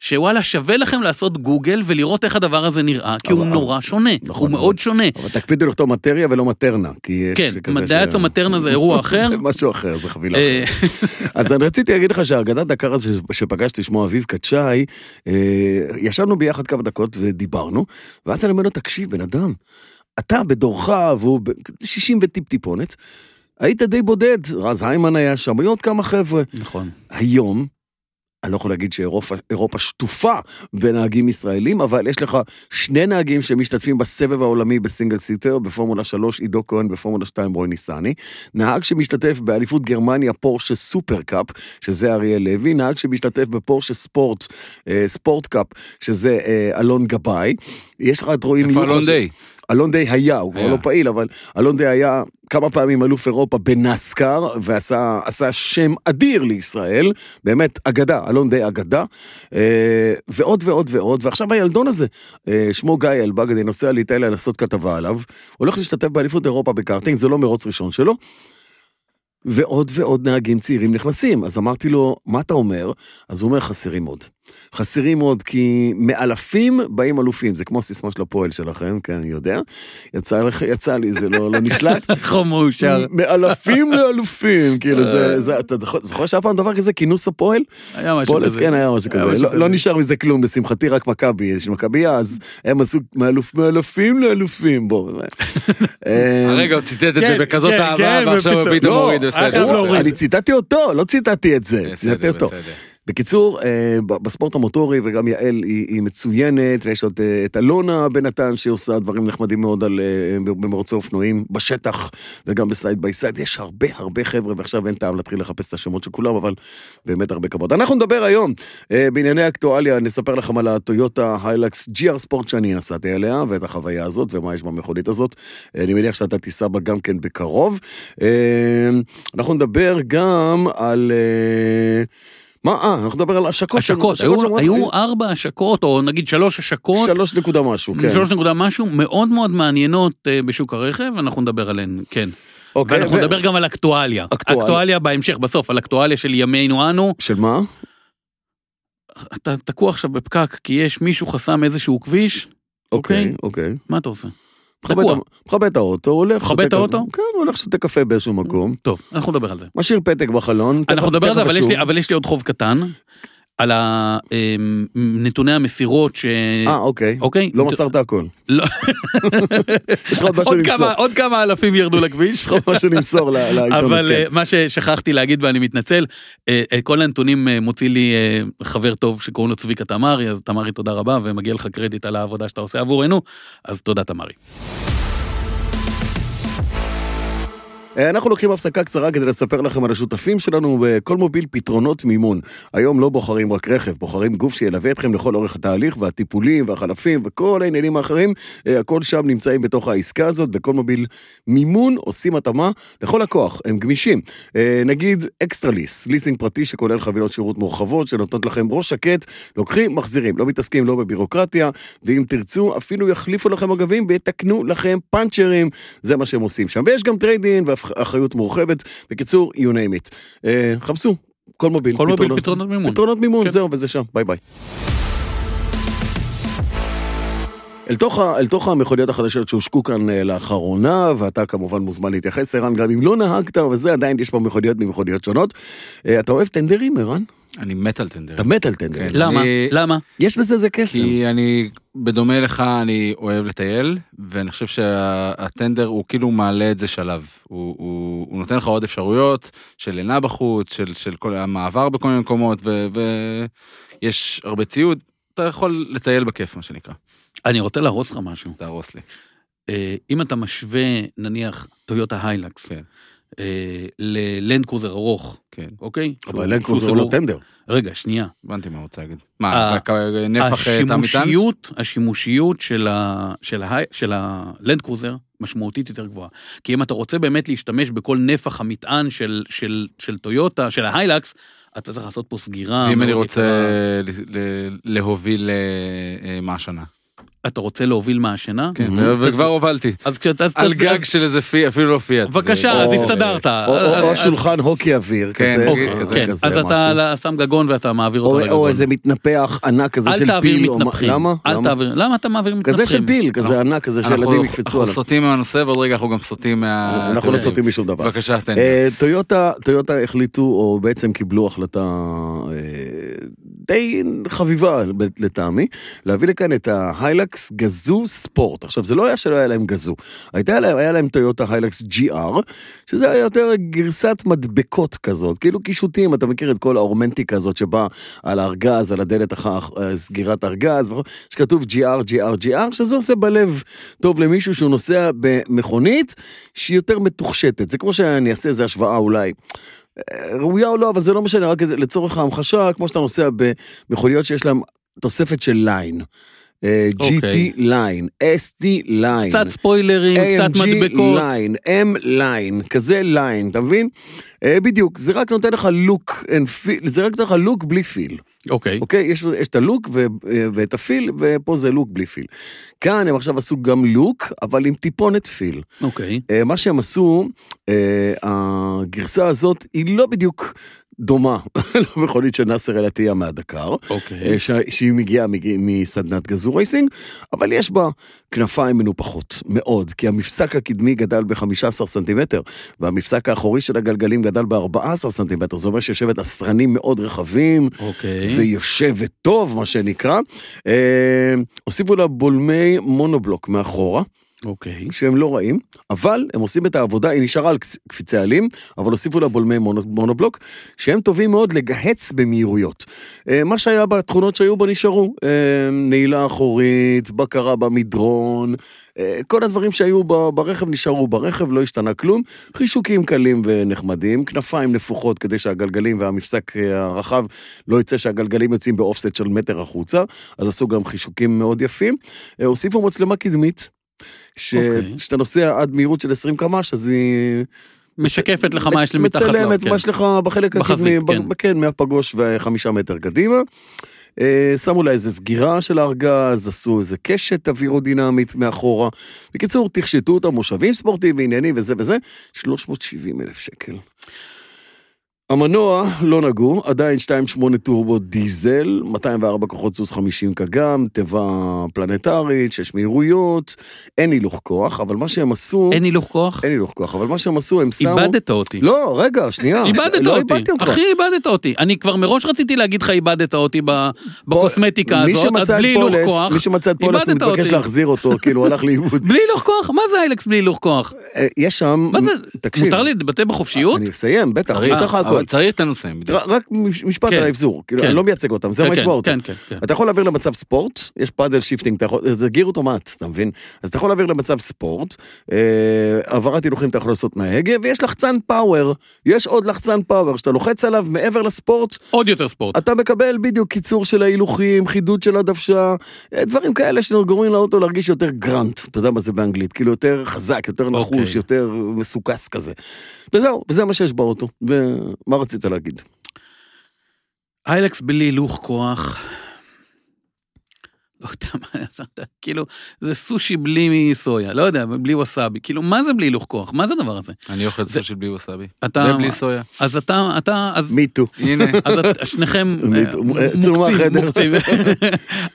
[SPEAKER 2] שוואלה, שווה לכם לעשות גוגל ולראות איך הדבר הזה נראה, כי הוא
[SPEAKER 1] אבל-
[SPEAKER 2] נורא שונה,
[SPEAKER 1] נכון,
[SPEAKER 2] הוא
[SPEAKER 1] אבל-
[SPEAKER 2] מאוד שונה.
[SPEAKER 1] אבל תקפידו לכתוב מטריה ולא מטרנה, כי יש
[SPEAKER 2] כן,
[SPEAKER 1] כזה
[SPEAKER 2] דייצו מטרנה זה אירוע אחר.
[SPEAKER 1] [LAUGHS] זה משהו אחר, זה חבילה
[SPEAKER 2] אה,
[SPEAKER 1] אחרת. אז אני רציתי להגיד לך שהאגדת דקר הזה שפגשתי שמו אביב קצ'אי, אה, ישבנו ביחד כמה דקות ודיברנו, ואז אני אומר לו, תקשיב, בן אדם, אתה בדורך, והוא ב- 60 וטיפ-טיפונת, היית די בודד, רז היימן היה שם, היו עוד כמה חבר'ה.
[SPEAKER 2] [LAUGHS] נכון.
[SPEAKER 1] היום, אני לא יכול להגיד שאירופה אירופה שטופה בנהגים ישראלים, אבל יש לך שני נהגים שמשתתפים בסבב העולמי בסינגל סיטר, בפורמולה 3 עידו כהן, בפורמולה 2 רוי ניסני, נהג שמשתתף באליפות גרמניה פורשה סופר קאפ, שזה אריה לוי, נהג שמשתתף בפורשה ספורט, אה, ספורט קאפ, שזה אה, אלון גבאי, יש לך את רועי
[SPEAKER 3] איפה
[SPEAKER 1] מיוחס-
[SPEAKER 3] אלון דיי?
[SPEAKER 1] אלון די היה, הוא כבר
[SPEAKER 3] היה.
[SPEAKER 1] לא פעיל, אבל אלון די היה כמה פעמים אלוף אירופה בנסקר, ועשה עשה שם אדיר לישראל, באמת, אגדה, אלון די אגדה, אה, ועוד ועוד ועוד, ועכשיו הילדון הזה, אה, שמו גיא אלבג, אני נוסע לאיטליה לעשות כתבה עליו, הולך להשתתף באליפות אירופה בקארטינג, זה לא מרוץ ראשון שלו. ועוד ועוד נהגים צעירים נכנסים, אז אמרתי לו, מה אתה אומר? אז הוא אומר, חסרים עוד. חסרים עוד כי מאלפים באים אלופים, זה כמו הסיסמה של הפועל שלכם, כן, אני יודע. יצא, לך, יצא לי, זה לא, לא
[SPEAKER 2] [LAUGHS]
[SPEAKER 1] נשלט.
[SPEAKER 2] חום נכון, מאושר.
[SPEAKER 1] מאלפים לאלופים, כאילו זה, זה, אתה זוכר- זוכר שהיה פעם דבר כזה, כינוס הפועל?
[SPEAKER 2] אה. היה משהו
[SPEAKER 1] פולס,
[SPEAKER 2] כזה.
[SPEAKER 1] כן, היה משהו
[SPEAKER 2] היה
[SPEAKER 1] כזה.
[SPEAKER 2] משהו
[SPEAKER 1] לא-
[SPEAKER 2] כזה.
[SPEAKER 1] לא נשאר מזה כלום, לשמחתי, רק מכבי, יש מכבייה, אז הם עשו מאלוף- מאלפים לאלופים, בוא.
[SPEAKER 2] [LAUGHS]
[SPEAKER 1] זה- אה,
[SPEAKER 3] הרגע הוא ציטט את
[SPEAKER 2] כן,
[SPEAKER 3] זה בכזאת
[SPEAKER 2] כן,
[SPEAKER 3] אהבה,
[SPEAKER 2] כן,
[SPEAKER 3] ועכשיו הוא
[SPEAKER 2] ופתאום-
[SPEAKER 3] פתאום
[SPEAKER 2] לא,
[SPEAKER 3] הוריד,
[SPEAKER 2] היה חייב
[SPEAKER 3] בסדר.
[SPEAKER 2] להוריד.
[SPEAKER 1] אני ציטטתי אותו, לא ציטטתי את זה, ציטטתי
[SPEAKER 3] בסדר,
[SPEAKER 1] אותו.
[SPEAKER 3] בסדר.
[SPEAKER 1] בקיצור, אה, ב- בספורט המוטורי, וגם יעל היא, היא מצוינת, ויש עוד אה, את אלונה בנתן, שעושה דברים נחמדים מאוד על, אה, ב- במרוצי אופנועים בשטח, וגם בסייד ביי סייד, יש הרבה הרבה חבר'ה, ועכשיו אין טעם להתחיל לחפש את השמות של כולם, אבל באמת הרבה כבוד. אנחנו נדבר היום אה, בענייני אקטואליה, נספר לכם על הטויוטה היילקס GR ספורט שאני נסעתי אליה, ואת החוויה הזאת, ומה יש במכונית הזאת. אה, אני מניח שאתה תיסע בה גם כן בקרוב. אה, אנחנו נדבר גם על... אה, מה, אה, אנחנו נדבר על השקות.
[SPEAKER 2] השקות,
[SPEAKER 1] של-
[SPEAKER 2] היו-
[SPEAKER 1] שאמרת,
[SPEAKER 2] היו ארבע השקות, או נגיד שלוש השקות,
[SPEAKER 1] שלוש נקודה משהו, כן.
[SPEAKER 2] שלוש נקודה משהו, מאוד מאוד מעניינות אה, בשוק הרכב, אנחנו נדבר עליהן, כן.
[SPEAKER 1] אוקיי,
[SPEAKER 2] ואנחנו
[SPEAKER 1] ו-
[SPEAKER 2] נדבר גם על אקטואליה.
[SPEAKER 1] אקטואליה.
[SPEAKER 2] אקטואליה בהמשך, בסוף, על אקטואליה של ימינו אנו.
[SPEAKER 1] של מה?
[SPEAKER 2] אתה תקוע עכשיו בפקק כי יש מישהו חסם איזשהו כביש,
[SPEAKER 1] אוקיי, אוקיי.
[SPEAKER 2] מה אתה עושה?
[SPEAKER 1] מכבה את
[SPEAKER 2] תקוע.
[SPEAKER 1] ה- מכבה את האוטו, הולך...
[SPEAKER 2] מכבה
[SPEAKER 1] שותה
[SPEAKER 2] את האוטו?
[SPEAKER 1] קפה- כן, הולך שותה קפה באיזשהו מקום.
[SPEAKER 2] טוב, אנחנו נדבר על זה.
[SPEAKER 1] משאיר פתק בחלון. תכף-
[SPEAKER 2] אנחנו נדבר על זה,
[SPEAKER 1] תכף
[SPEAKER 2] אבל יש,
[SPEAKER 1] אשוב.
[SPEAKER 2] לי, אבל יש לי עוד חוב קטן, על ה- אה, נתוני המסירות ש...
[SPEAKER 1] אה, אוקיי.
[SPEAKER 2] אוקיי?
[SPEAKER 1] לא מסרת הכל.
[SPEAKER 2] לא.
[SPEAKER 1] [LAUGHS] יש לך עוד משהו
[SPEAKER 2] עוד
[SPEAKER 1] למסור.
[SPEAKER 2] כמה- עוד כמה אלפים ירדו
[SPEAKER 1] [LAUGHS]
[SPEAKER 2] לכביש.
[SPEAKER 1] יש לך עוד משהו למסור ל- לעיתונות.
[SPEAKER 2] אבל
[SPEAKER 1] כן.
[SPEAKER 2] אה, מה ששכחתי להגיד ואני מתנצל, אה, את כל הנתונים אה, מוציא לי אה, חבר טוב שקוראים לו צביקה תמרי, אז תמרי תודה רבה ומגיע לך קרדיט על העבודה שאתה עושה עבורנו, אז תודה תמרי.
[SPEAKER 1] אה, אנחנו לוקחים הפסקה קצרה כדי לספר לכם על השותפים שלנו בכל מוביל פתרונות מימון. היום לא בוחרים רק רכב, בוחרים גוף שילווה אתכם לכל אורך התהליך והטיפולים והחלפים וכל העניינים האחרים, אה, הכל שם נמצאים בתוך העסקה הזאת, בכל מוביל מימון עושים התאמה לכל לקוח, הם גמישים. אה, נגיד אקסטרה ליס, ליסינג פרטי שכולל חבילות שירות מורחבות שנותנות לכם ראש שקט, לוקחים, מחזירים, לא מתעסקים לא בבירוקרטיה, ואם תרצו אפילו יחליפו לכם אגבים ויתקנו לכם פאנצ'רים, זה מה שהם עושים שם. ויש גם טריידין ואחריות מורחבת, בקיצור, you name it. אה, חפשו, כל מוביל,
[SPEAKER 2] כל מוביל פתרונות מימון.
[SPEAKER 1] פתרונות מימון,
[SPEAKER 2] כן.
[SPEAKER 1] זהו, וזה שם, ביי ביי. אל תוך, ה- אל תוך המכוניות החדשות שהושקו כאן אה, לאחרונה, ואתה כמובן מוזמן להתייחס, ערן, גם אם לא נהגת, וזה עדיין יש פה מכוניות ממכוניות שונות. אה, אתה אוהב טנדרים, ערן?
[SPEAKER 3] אני מת על טנדר.
[SPEAKER 1] אתה מת על טנדרים.
[SPEAKER 3] כן.
[SPEAKER 2] למה?
[SPEAKER 3] אני-
[SPEAKER 2] למה?
[SPEAKER 1] יש בזה איזה קסם.
[SPEAKER 3] כי אני, בדומה לך, אני אוהב לטייל, ואני חושב שהטנדר הוא כאילו מעלה את זה שלב. הוא, הוא, הוא נותן לך עוד אפשרויות של לינה בחוץ, של, של כל המעבר בכל מיני מקומות, ו- ויש הרבה ציוד. אתה יכול לטייל בכיף, מה שנקרא.
[SPEAKER 2] אני רוצה להרוס לך משהו.
[SPEAKER 3] תהרוס לי.
[SPEAKER 2] אה, אם אתה משווה, נניח, טויוטה היילקס,
[SPEAKER 3] כן.
[SPEAKER 2] אה, ללנד קרוזר ארוך,
[SPEAKER 3] כן.
[SPEAKER 2] אוקיי?
[SPEAKER 1] אבל
[SPEAKER 2] שהוא-
[SPEAKER 1] לנקרוז זה
[SPEAKER 2] שהוא
[SPEAKER 1] לא
[SPEAKER 2] סגור.
[SPEAKER 1] טנדר.
[SPEAKER 2] רגע, שנייה.
[SPEAKER 3] הבנתי מה הוא רוצה להגיד. מה,
[SPEAKER 2] ה-
[SPEAKER 3] רק נפח אה, תא מטען?
[SPEAKER 2] השימושיות, השימושיות של ה- של ה- של הלנד קרוזר משמעותית יותר גבוהה. כי אם אתה רוצה באמת להשתמש בכל נפח המטען של- של של טויוטה, של ההיילקס, אתה צריך לעשות פה סגירה.
[SPEAKER 3] ואם
[SPEAKER 2] מאוד
[SPEAKER 3] אני רוצה
[SPEAKER 2] יקרה.
[SPEAKER 3] ל- ל- להוביל אה, אה, מהשנה.
[SPEAKER 2] אתה רוצה להוביל מהשינה?
[SPEAKER 3] כן, ו- וכבר הובלתי.
[SPEAKER 2] אז כשאתה... אז-
[SPEAKER 3] על
[SPEAKER 2] אז-
[SPEAKER 3] גג
[SPEAKER 2] אז-
[SPEAKER 3] של איזה פי, אפילו לא פיאט. זה-
[SPEAKER 2] בבקשה,
[SPEAKER 1] או-
[SPEAKER 2] אה, אז הסתדרת.
[SPEAKER 1] או- או- או
[SPEAKER 2] אז-
[SPEAKER 1] שולחן הוקי אוויר,
[SPEAKER 3] כן,
[SPEAKER 1] כזה,
[SPEAKER 3] אוקיי,
[SPEAKER 1] כזה,
[SPEAKER 2] כן,
[SPEAKER 1] כזה
[SPEAKER 2] אז
[SPEAKER 1] משהו.
[SPEAKER 2] אתה שם גגון ואתה מעביר אותו
[SPEAKER 1] או-
[SPEAKER 2] לגגון.
[SPEAKER 1] או איזה מתנפח ענק כזה
[SPEAKER 2] אל
[SPEAKER 1] של
[SPEAKER 2] תעביר
[SPEAKER 1] פיל. או מה-
[SPEAKER 2] מתנפחים.
[SPEAKER 1] למה?
[SPEAKER 2] אל
[SPEAKER 1] למה?
[SPEAKER 2] תעביר, למה אתה מעביר מתנפחים?
[SPEAKER 1] כזה של פיל,
[SPEAKER 2] לא.
[SPEAKER 1] כזה ענק כזה
[SPEAKER 3] אנחנו-
[SPEAKER 1] שילדים יקפצו
[SPEAKER 3] אנחנו
[SPEAKER 1] עליו.
[SPEAKER 3] סוטים מהנושא, ועוד רגע אנחנו גם סוטים מה...
[SPEAKER 1] אנחנו לא סוטים משום דבר.
[SPEAKER 3] בבקשה, תן לי.
[SPEAKER 1] אה, טויוטה, טויוטה החליטו, או בעצם קיבלו החלטה אה, די חביבה ב- לטעמי, להביא לכאן את ההיילקס גזו ספורט. עכשיו, זה לא היה שלא היה להם גזו, הייתה להם, היה להם טויוטה היילקס GR, שזה היה יותר גרסת מדבקות כזאת, כאילו קישוטים, אתה מכיר את כל האורמנטיקה הזאת שבה על הארגז, על הדלת אחר אה, סגירת ארגז, וכו', שכתוב GR, GR, GR, שזה עושה בלב טוב למישהו שהוא נוסע במכונית שהיא יותר מתוחשטת. זה כמו שאני אעשה איזו השוואה אולי. אה, ראויה או לא, אבל זה לא משנה, רק לצורך ההמחשה, כמו שאתה נוסע במכוניות שיש להן תוספת של ליין. אה,
[SPEAKER 2] אוקיי.
[SPEAKER 1] GT ליין, ST ליין.
[SPEAKER 2] קצת ספוילרים, קצת מדבקות.
[SPEAKER 1] ליין, M ליין, כזה ליין, אתה מבין? אה, בדיוק, זה רק נותן לך לוק, זה רק נותן לך לוק בלי פיל.
[SPEAKER 2] אוקיי.
[SPEAKER 1] אוקיי? יש, יש את הלוק ו, אה, ואת הפיל, ופה זה לוק בלי פיל. כאן הם עכשיו עשו גם לוק, אבל עם טיפונת פיל.
[SPEAKER 2] אוקיי.
[SPEAKER 1] אה, מה שהם עשו, אה, הגרסה הזאת היא לא בדיוק דומה [LAUGHS] למכונית של נאסר אל-עטיה מהדקר,
[SPEAKER 2] אוקיי.
[SPEAKER 1] אה, שה- שהיא מגיעה מג- מסדנת גזור רייסינג, אבל יש בה כנפיים מנופחות, מאוד, כי המפסק הקדמי גדל ב-15 סנטימטר, והמפסק האחורי של הגלגלים גדל ב-14 סנטימטר, זה אומר שיושבת עשרנים מאוד רחבים,
[SPEAKER 2] אוקיי.
[SPEAKER 1] ויושבת טוב, מה שנקרא. אה, הוסיפו לה בולמי מונובלוק מאחורה.
[SPEAKER 2] אוקיי.
[SPEAKER 1] שהם לא רעים, אבל הם עושים את העבודה, היא נשארה על קצ- קפיצי עלים, אבל הוסיפו לה בולמי מונו- מונובלוק, שהם טובים מאוד לגהץ במהירויות. אה, מה שהיה בתכונות שהיו בה נשארו, אה, נעילה אחורית, בקרה במדרון, אה, כל הדברים שהיו ב- ברכב נשארו ברכב, לא השתנה כלום. חישוקים קלים ונחמדים, כנפיים נפוחות כדי שהגלגלים והמפסק אה, הרחב לא יצא שהגלגלים יוצאים באופסט של מטר החוצה, אז עשו גם חישוקים מאוד יפים. אה, הוסיפו מצלמה קדמית.
[SPEAKER 2] אוקיי.
[SPEAKER 1] כשאתה נוסע עד מהירות של 20 קמ"ש, אז היא...
[SPEAKER 2] משקפת לך מה יש לי
[SPEAKER 1] מצ-
[SPEAKER 2] מתחת לאור.
[SPEAKER 1] מצלמת
[SPEAKER 2] כן.
[SPEAKER 1] מה יש לך בחלק
[SPEAKER 2] בחזית,
[SPEAKER 1] הקדמי, ב-
[SPEAKER 2] כן.
[SPEAKER 1] ב- כן, מהפגוש וחמישה מטר קדימה. אה, שמו לה איזה סגירה של הארגז, עשו איזה קשת אווירודינמית מאחורה. בקיצור, תחשטו אותה, מושבים ספורטיביים, עניינים וזה וזה, 370 אלף שקל. המנוע לא נגעו, עדיין 2.8 טורבו דיזל, 204 כוחות סוס 50 קגם, תיבה פלנטרית, 6 מהירויות, אין הילוך כוח, אבל מה שהם עשו...
[SPEAKER 2] אין הילוך כוח?
[SPEAKER 1] אין הילוך כוח, אבל מה שהם עשו, הם אה, שמו...
[SPEAKER 2] איבדת אותי.
[SPEAKER 1] לא, רגע, שנייה.
[SPEAKER 2] איבדת
[SPEAKER 1] לא
[SPEAKER 2] אותי,
[SPEAKER 1] איבדתי אותך.
[SPEAKER 2] אחי איבדת אותי. אני כבר מראש רציתי להגיד לך איבדת אותי ב-
[SPEAKER 1] בוא,
[SPEAKER 2] בקוסמטיקה
[SPEAKER 1] מי
[SPEAKER 2] הזאת, אז
[SPEAKER 1] שמצא את
[SPEAKER 2] בלי הילוך
[SPEAKER 1] פולס-
[SPEAKER 2] כוח.
[SPEAKER 1] מי שמצא את פולס, הוא
[SPEAKER 2] איבדת
[SPEAKER 1] מתבקש
[SPEAKER 2] אותי.
[SPEAKER 1] להחזיר
[SPEAKER 2] [LAUGHS]
[SPEAKER 1] אותו, כאילו, הוא הלך לאיבוד.
[SPEAKER 2] בלי הילוך כוח? מה זה איילקס בלי הילוך כוח?
[SPEAKER 1] אה, יש שם...
[SPEAKER 2] מה זה?
[SPEAKER 1] תקשיב.
[SPEAKER 2] מותר להתבטא בחופשיות?
[SPEAKER 1] אני מסיים, בטח, מותר לך הכל.
[SPEAKER 3] אבל צריך תן לו לסיים. בדיוק.
[SPEAKER 1] ר- רק מש- משפט
[SPEAKER 2] כן.
[SPEAKER 1] על האבזור, כאילו,
[SPEAKER 2] כן.
[SPEAKER 1] אני לא מייצג אותם, זה
[SPEAKER 2] כן,
[SPEAKER 1] מה
[SPEAKER 2] כן,
[SPEAKER 1] ישמע אותם.
[SPEAKER 2] כן, כן, כן.
[SPEAKER 1] אתה יכול להעביר למצב ספורט, יש פאדל שיפטינג, אתה יכול- זה גיר אוטומט, אתה מבין? אז אתה יכול להעביר למצב ספורט, אה, העברת הילוכים אתה יכול לעשות מההגה, ויש לחצן פאוור, יש עוד לחצן פאוור, שאתה לוחץ עליו מעבר לספורט,
[SPEAKER 2] עוד יותר ספורט.
[SPEAKER 1] אתה מקבל בדיוק קיצור של ההילוכים, חידוד של הדוושה, אה, דברים כאלה שגורמים לאוטו להרגיש יותר גרנט, אתה יודע מה זה באנגלית, כאילו יותר חזק, יותר נחוש,
[SPEAKER 2] אוקיי.
[SPEAKER 1] יותר מסוכס כזה. וזהו, וזה מה שיש באוטו. ומה רצית להגיד?
[SPEAKER 2] איילקס בלי הילוך כוח. לא יודע מה, זה- כאילו, זה סושי בלי סויה, לא יודע, בלי ווסאבי, כאילו, מה זה בלי הילוך כוח? מה זה הדבר הזה?
[SPEAKER 3] אני אוכל סושי בלי ווסאבי.
[SPEAKER 2] אתה-
[SPEAKER 3] ובלי סויה.
[SPEAKER 2] אז אתה, אתה, אז...
[SPEAKER 1] מיטו.
[SPEAKER 3] הנה.
[SPEAKER 2] אז את- שניכם
[SPEAKER 1] [LAUGHS] מי-
[SPEAKER 2] אה,
[SPEAKER 1] מ- אה, צאו
[SPEAKER 2] מוקצים,
[SPEAKER 1] מהחדר. [LAUGHS]
[SPEAKER 2] מוקצים.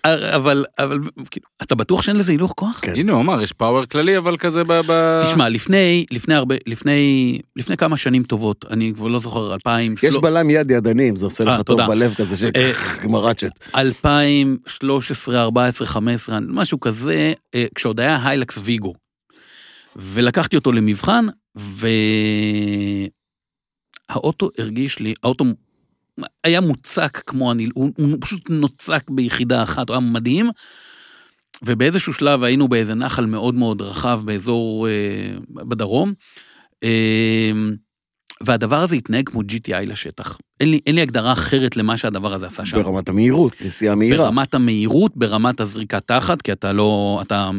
[SPEAKER 2] אה, אבל, אבל, כאילו, אתה בטוח שאין לזה הילוך כוח?
[SPEAKER 1] כן.
[SPEAKER 3] הנה הוא אמר, יש פאוור כללי, אבל כזה ב... ב-
[SPEAKER 2] תשמע, לפני, לפני הרבה, לפני, לפני כמה שנים טובות, אני כבר לא זוכר, 2000,
[SPEAKER 1] יש
[SPEAKER 2] שלו-
[SPEAKER 1] בלם יד ידני, אם זה עושה
[SPEAKER 2] אה,
[SPEAKER 1] לך טוב
[SPEAKER 2] תודה.
[SPEAKER 1] בלב כזה של
[SPEAKER 2] אה,
[SPEAKER 1] מראצ'ט.
[SPEAKER 2] 2013, 14, 15, משהו כזה, אה, כשעוד היה היילקס ויגו. ולקחתי אותו למבחן, והאוטו הרגיש לי, האוטו היה מוצק כמו הניל, הוא, הוא פשוט נוצק ביחידה אחת, הוא היה מדהים. ובאיזשהו שלב היינו באיזה נחל מאוד מאוד רחב באזור, אה, בדרום. אה, והדבר הזה התנהג כמו GTI לשטח. אין לי, אין לי הגדרה אחרת למה שהדבר הזה עשה שם.
[SPEAKER 1] ברמת המהירות, נסיעה מהירה.
[SPEAKER 2] ברמת המהירות, ברמת הזריקה תחת, כי אתה לא, אתה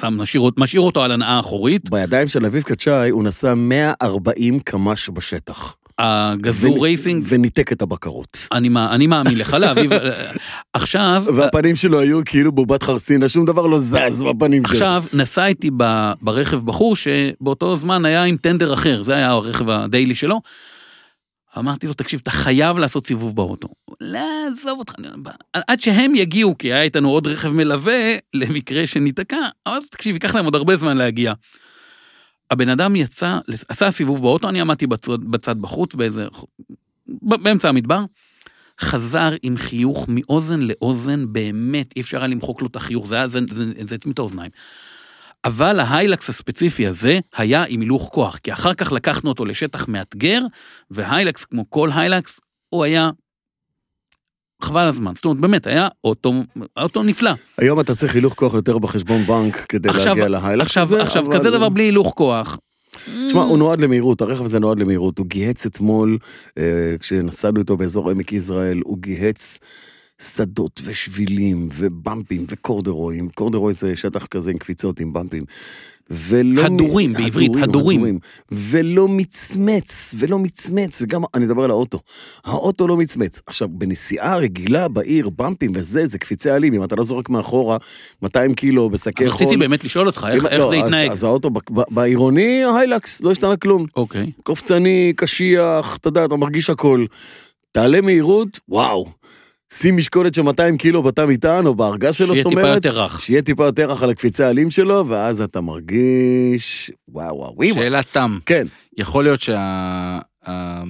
[SPEAKER 2] שם, משאיר, אות- משאיר אותו על הנאה אחורית.
[SPEAKER 1] בידיים של אביב קצ'אי הוא נסע 140 קמ"ש בשטח.
[SPEAKER 2] הגזור
[SPEAKER 1] ו-
[SPEAKER 2] רייסינג,
[SPEAKER 1] וניתק את הבקרות.
[SPEAKER 2] אני, מא- אני מאמין לך, לאביב. עכשיו,
[SPEAKER 1] והפנים שלו היו כאילו בובת חרסינה, שום דבר לא זז בפנים שלו.
[SPEAKER 2] עכשיו, נסע איתי ב, ברכב בחור שבאותו זמן היה עם טנדר אחר, זה היה הרכב הדיילי שלו. אמרתי לו, תקשיב, אתה חייב לעשות סיבוב באוטו. לא, עזוב אותך. אני- עד שהם יגיעו, כי היה איתנו עוד רכב מלווה, למקרה שניתקע, אמרתי, תקשיב, ייקח להם עוד הרבה זמן להגיע. הבן אדם יצא, עשה סיבוב באוטו, אני עמדתי בצד, בצד בחוץ, באיזה... ב- באמצע המדבר. חזר עם חיוך מאוזן לאוזן, באמת, אי אפשר היה למחוק לו את החיוך, זה היה, זה, זה, זה הצמיד את האוזניים. אבל ההיילקס הספציפי הזה היה עם הילוך כוח, כי אחר כך לקחנו אותו לשטח מאתגר, והיילקס, כמו כל היילקס, הוא היה... חבל הזמן, זאת אומרת, באמת, היה אוטו, אוטו נפלא.
[SPEAKER 1] היום אתה צריך הילוך כוח יותר בחשבון בנק כדי
[SPEAKER 2] עכשיו,
[SPEAKER 1] להגיע להיילקס
[SPEAKER 2] עכשיו,
[SPEAKER 1] הזה,
[SPEAKER 2] עכשיו
[SPEAKER 1] אבל-
[SPEAKER 2] כזה דבר בלי הילוך כוח.
[SPEAKER 1] שמע, הוא נועד למהירות, הרכב הזה נועד למהירות. הוא גיהץ אתמול, אה, כשנסענו איתו באזור עמק יזרעאל, הוא גיהץ שדות ושבילים ובמפים וקורדרויים. קורדרוי זה שטח כזה עם קפיצות עם במפים. ולא... מ-
[SPEAKER 2] הדורים, בעברית, הדורים.
[SPEAKER 1] ולא מצמץ, ולא מצמץ, וגם, אני מדבר על האוטו. האוטו לא מצמץ. עכשיו, בנסיעה רגילה בעיר, במפים וזה, זה קפיצי עלים, אם אתה לא זורק מאחורה 200 קילו בשקי
[SPEAKER 2] אז
[SPEAKER 1] חול.
[SPEAKER 2] רציתי באמת לשאול אותך, איך
[SPEAKER 1] אם-
[SPEAKER 2] איך
[SPEAKER 1] לא,
[SPEAKER 2] זה
[SPEAKER 1] אז-
[SPEAKER 2] התנהג?
[SPEAKER 1] אז האוטו ב- ב- בעירוני, היילקס, לא השתנה כלום.
[SPEAKER 2] אוקיי.
[SPEAKER 1] קופצני, קשיח, אתה יודע, אתה מרגיש הכל. תעלה מהירות, וואו. שים משקולת של 200 קילו בתא מטען, או בארגז שלו,
[SPEAKER 2] שיהיה
[SPEAKER 1] זאת
[SPEAKER 2] טיפה
[SPEAKER 1] אומרת.
[SPEAKER 2] יותר רך.
[SPEAKER 1] שיהיה טיפה יותר רך על הקפיצה העלים שלו, ואז אתה מרגיש... וואו, וואו, וואו.
[SPEAKER 3] שאלה תם.
[SPEAKER 1] כן.
[SPEAKER 3] יכול להיות שה... ה-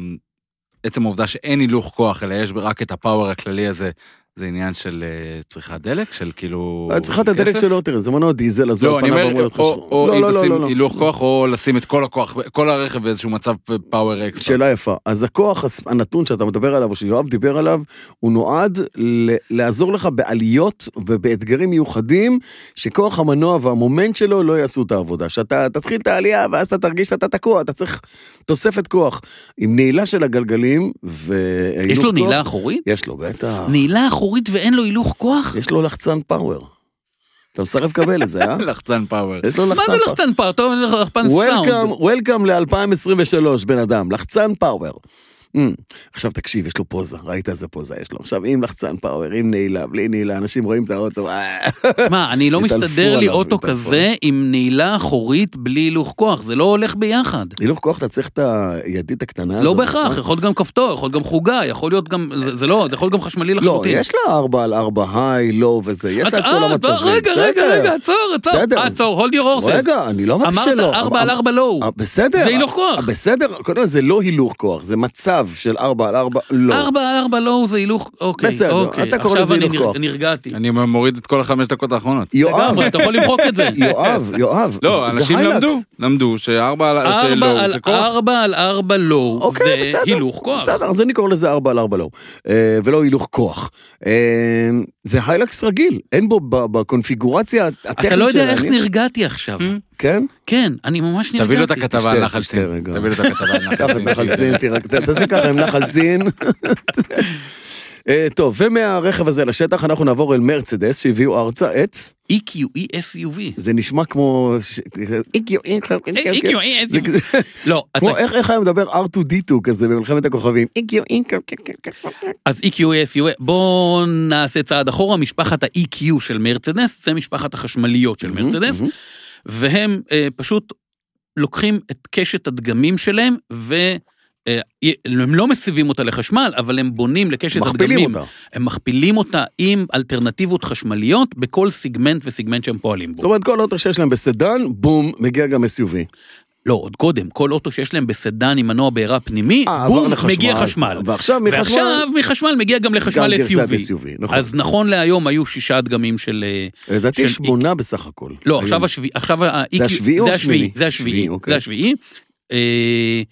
[SPEAKER 3] עצם העובדה שאין הילוך כוח, אלא יש רק את הפאוור הכללי הזה, זה עניין של אה, צריכת דלק? של כאילו...
[SPEAKER 1] צריכת
[SPEAKER 3] של
[SPEAKER 1] הדלק
[SPEAKER 3] כסף?
[SPEAKER 1] שלו, תראה, זה מנוע דיזל, אז הוא
[SPEAKER 3] לא,
[SPEAKER 1] על
[SPEAKER 3] אני
[SPEAKER 1] פניו
[SPEAKER 3] אומר,
[SPEAKER 1] אמור להיות
[SPEAKER 3] או-
[SPEAKER 1] חשוב.
[SPEAKER 3] או
[SPEAKER 1] לא,
[SPEAKER 3] אם
[SPEAKER 1] לא, לא, לא,
[SPEAKER 3] תשים
[SPEAKER 1] לא.
[SPEAKER 3] הילוך כוח, או לשים את כל הכוח, כל הרכב באיזשהו מצב פאוור אקסטרה.
[SPEAKER 1] שאלה יפה. אז הכוח הס- הנתון שאתה מדבר עליו, או שיואב דיבר עליו, הוא נועד ל- לעזור לך בעליות ובאתגרים מיוחדים, שכוח המנוע והמומנט שלו לא יעשו את העבודה. שאתה תתחיל את העלייה, ואז אתה תרגיש שאתה תקוע, אתה צריך תוספת כוח. עם נעילה של הגלגלים, והילוך
[SPEAKER 2] יש לו
[SPEAKER 1] כוח-
[SPEAKER 2] נעילה אחורית?
[SPEAKER 1] יש לו, בטח.
[SPEAKER 2] נעילה אחורית ואין לו הילוך כוח?
[SPEAKER 1] יש לו לחצן פאוור. אתה מסרב לקבל את
[SPEAKER 2] [LAUGHS]
[SPEAKER 1] זה, אה?
[SPEAKER 3] [LAUGHS] לחצן פאוור.
[SPEAKER 1] יש לו
[SPEAKER 2] מה
[SPEAKER 1] לחצן
[SPEAKER 2] זה
[SPEAKER 1] פאוור.
[SPEAKER 2] לחצן פאר? טוב, זה לחצן
[SPEAKER 1] וולקאם,
[SPEAKER 2] סאונד.
[SPEAKER 1] וולקאם ל-2023, בן אדם, לחצן פאוור. Mm. עכשיו תקשיב, יש לו פוזה, ראית איזה פוזה יש לו. עכשיו, עם לחצן פאוור, עם נעילה, בלי נעילה, אנשים רואים את האוטו, אה,
[SPEAKER 2] מה, אני לא
[SPEAKER 1] התעלפו
[SPEAKER 2] מסתדר לי
[SPEAKER 1] עליו,
[SPEAKER 2] אוטו
[SPEAKER 1] התעלפו
[SPEAKER 2] כזה עם נעילה אחורית בלי הילוך כוח, זה לא הולך ביחד.
[SPEAKER 1] הילוך כוח, אתה צריך את הידית הקטנה
[SPEAKER 2] לא
[SPEAKER 1] הזאת.
[SPEAKER 2] בהכרח,
[SPEAKER 1] נכון?
[SPEAKER 2] יכול להיות גם כפתור, יכול להיות גם חוגה, יכול להיות גם, זה- זה לא, זה יכול להיות גם חשמלי
[SPEAKER 1] לא,
[SPEAKER 2] לחלוטין.
[SPEAKER 1] יש לה ארבע על ארבע היי, לא וזה, יש לה את
[SPEAKER 2] אה,
[SPEAKER 1] כל
[SPEAKER 2] אה,
[SPEAKER 1] המצבים.
[SPEAKER 2] רגע, רגע,
[SPEAKER 1] בסדר.
[SPEAKER 2] רגע, עצור, עצור.
[SPEAKER 1] בסדר.
[SPEAKER 2] אה, עצור, hold your horses.
[SPEAKER 1] רגע, אני לא אמרתי
[SPEAKER 2] אמרת
[SPEAKER 1] שלא.
[SPEAKER 2] ארבע על
[SPEAKER 1] אמר-
[SPEAKER 2] ארבע לואו.
[SPEAKER 1] אה, בסדר.
[SPEAKER 2] זה הילוך כוח.
[SPEAKER 1] בסדר, קודם כל זה לא הילוך כוח, זה מצב של ארבע על ארבע, לא.
[SPEAKER 2] ארבע על ארבע לואו זה הילוך, אוקיי,
[SPEAKER 1] בסדר,
[SPEAKER 2] אוקיי.
[SPEAKER 1] אתה קורא לזה
[SPEAKER 2] עכשיו אני
[SPEAKER 1] הילוך
[SPEAKER 2] נר-
[SPEAKER 1] כוח.
[SPEAKER 2] נרגעתי.
[SPEAKER 3] אני מוריד את כל החמש דקות האחרונות.
[SPEAKER 1] יואב,
[SPEAKER 2] לגמרי, אתה יכול למחוק את זה.
[SPEAKER 1] [LAUGHS] יואב, יואב,
[SPEAKER 3] לא,
[SPEAKER 1] אה, זה- זה
[SPEAKER 3] אנשים
[SPEAKER 1] היילקס.
[SPEAKER 3] למדו, למדו שארבע על
[SPEAKER 2] ארבע
[SPEAKER 3] שלא,
[SPEAKER 2] על
[SPEAKER 3] זה כוח.
[SPEAKER 2] ארבע על ארבע לואו
[SPEAKER 1] אוקיי,
[SPEAKER 2] זה
[SPEAKER 1] בסדר.
[SPEAKER 2] הילוך כוח.
[SPEAKER 1] בסדר, אז אני קורא לזה ארבע על ארבע לא. אה, ולא הילוך כוח. אה, זה היילקס רגיל, אין בו ב- בקונפיגורציה הטכנית שלה.
[SPEAKER 2] אתה לא יודע איך
[SPEAKER 1] אני-
[SPEAKER 2] נרגעתי עכשיו.
[SPEAKER 1] כן?
[SPEAKER 2] כן, אני ממש נרגעתי.
[SPEAKER 3] Hmm? תביא לו את הכתבה על
[SPEAKER 1] תשתה,
[SPEAKER 3] נחל
[SPEAKER 1] תשתה
[SPEAKER 3] צין.
[SPEAKER 1] רגע.
[SPEAKER 3] תביא לו את הכתבה על
[SPEAKER 1] קח את
[SPEAKER 3] נחל
[SPEAKER 1] נחל
[SPEAKER 3] צין.
[SPEAKER 1] צין, תירק- ת- תעשה ככה עם נחל צין. אה, טוב, ומהרכב הזה לשטח אנחנו נעבור אל מרצדס שהביאו ארצה את,
[SPEAKER 2] E EQE SUV.
[SPEAKER 1] זה נשמע כמו... ש-
[SPEAKER 2] EQE
[SPEAKER 1] כן, זה
[SPEAKER 2] SUV.
[SPEAKER 1] כזה-
[SPEAKER 2] לא, אתה-
[SPEAKER 1] כמו איך איך היה מדבר R2D2 כזה במלחמת הכוכבים. כן,
[SPEAKER 2] אז EQ SUV, בואו E נעשה צעד אחורה, משפחת ה-EQ של מרצדס, זה משפחת החשמליות של מרצדס, והם אה, פשוט לוקחים את קשת הדגמים שלהם, והם לא מסיבים אותה לחשמל, אבל הם בונים לקשת
[SPEAKER 1] מכפילים
[SPEAKER 2] הדגמים.
[SPEAKER 1] אותה.
[SPEAKER 2] הם מכפילים אותה עם אלטרנטיבות חשמליות בכל סיגמנט וסיגמנט שהם פועלים בו.
[SPEAKER 1] זאת אומרת, כל אוטו שיש להם בסדן, בום, מגיע גם SUV.
[SPEAKER 2] לא, עוד קודם, כל אוטו שיש להם בסדן עם מנוע בעירה פנימי,
[SPEAKER 1] אה, עבר
[SPEAKER 2] בום,
[SPEAKER 1] לחשמל.
[SPEAKER 2] מגיע חשמל.
[SPEAKER 1] ועכשיו מחשמל-
[SPEAKER 2] ועכשיו מחשמל מגיע גם
[SPEAKER 1] גם
[SPEAKER 2] לחשמל
[SPEAKER 1] גרסת
[SPEAKER 2] SUV.
[SPEAKER 1] SUV, נכון.
[SPEAKER 2] אז נכון להיום היו שישה דגמים של... אה,
[SPEAKER 1] לדעתי
[SPEAKER 2] של
[SPEAKER 1] שמונה בסך הכל.
[SPEAKER 2] לא,
[SPEAKER 1] היום.
[SPEAKER 2] עכשיו השביעי, עכשיו ה...
[SPEAKER 1] זה השביעי או
[SPEAKER 2] זה
[SPEAKER 1] השמיני?
[SPEAKER 2] השביעי, זה
[SPEAKER 1] שביעי,
[SPEAKER 2] השביעי,
[SPEAKER 1] אוקיי.
[SPEAKER 2] זה השביעי. אה,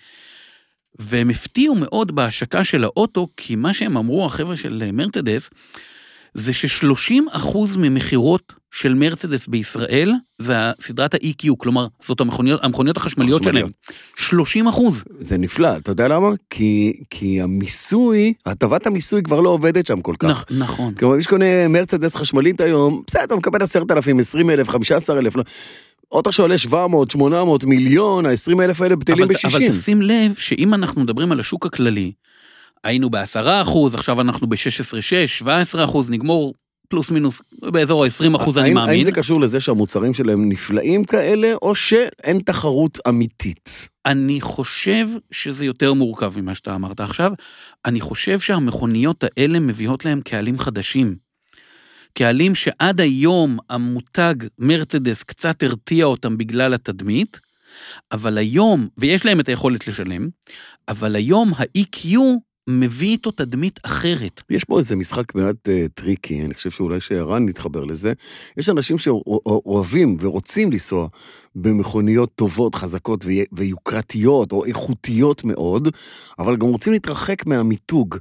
[SPEAKER 2] והם הפתיעו מאוד בהשקה של האוטו, כי מה שהם אמרו, החבר'ה של אה, מרצדס, זה ש-30% ממכירות של מרצדס בישראל, זה סדרת ה-EQ, כלומר, זאת המכוניות, המכוניות החשמליות שלהם. 30 אחוז.
[SPEAKER 1] זה נפלא, אתה יודע למה? כי, כי המיסוי, הטבת המיסוי כבר לא עובדת שם כל כך.
[SPEAKER 2] נכון.
[SPEAKER 1] כלומר, מי שקונה מרצדס חשמלית היום, בסדר, הוא מקבל 10,000, 20,000, 15,000. לא. אוטו שעולה 700, 800, מיליון, ה-20,000 האלה בטלים
[SPEAKER 2] אבל, אבל
[SPEAKER 1] ב-60.
[SPEAKER 2] תשים לב שאם אנחנו מדברים על השוק הכללי, היינו בעשרה אחוז, עכשיו אנחנו ב-16.6, 17 אחוז, נגמור פלוס מינוס באזור ה-20 אחוז, אני
[SPEAKER 1] האם,
[SPEAKER 2] מאמין.
[SPEAKER 1] האם זה קשור לזה שהמוצרים שלהם נפלאים כאלה, או שאין תחרות אמיתית?
[SPEAKER 2] אני חושב שזה יותר מורכב ממה שאתה אמרת עכשיו. אני חושב שהמכוניות האלה מביאות להם קהלים חדשים. קהלים שעד היום המותג מרצדס קצת הרתיע אותם בגלל התדמית, אבל היום, ויש להם את היכולת לשלם, אבל היום ה-EQ מביא איתו תדמית אחרת.
[SPEAKER 1] יש פה איזה משחק מעט אה, טריקי, אני חושב שאולי שערן יתחבר לזה. יש אנשים שאוהבים ורוצים לנסוע במכוניות טובות, חזקות ויה- ויוקרתיות, או איכותיות מאוד, אבל גם רוצים להתרחק מהמיתוג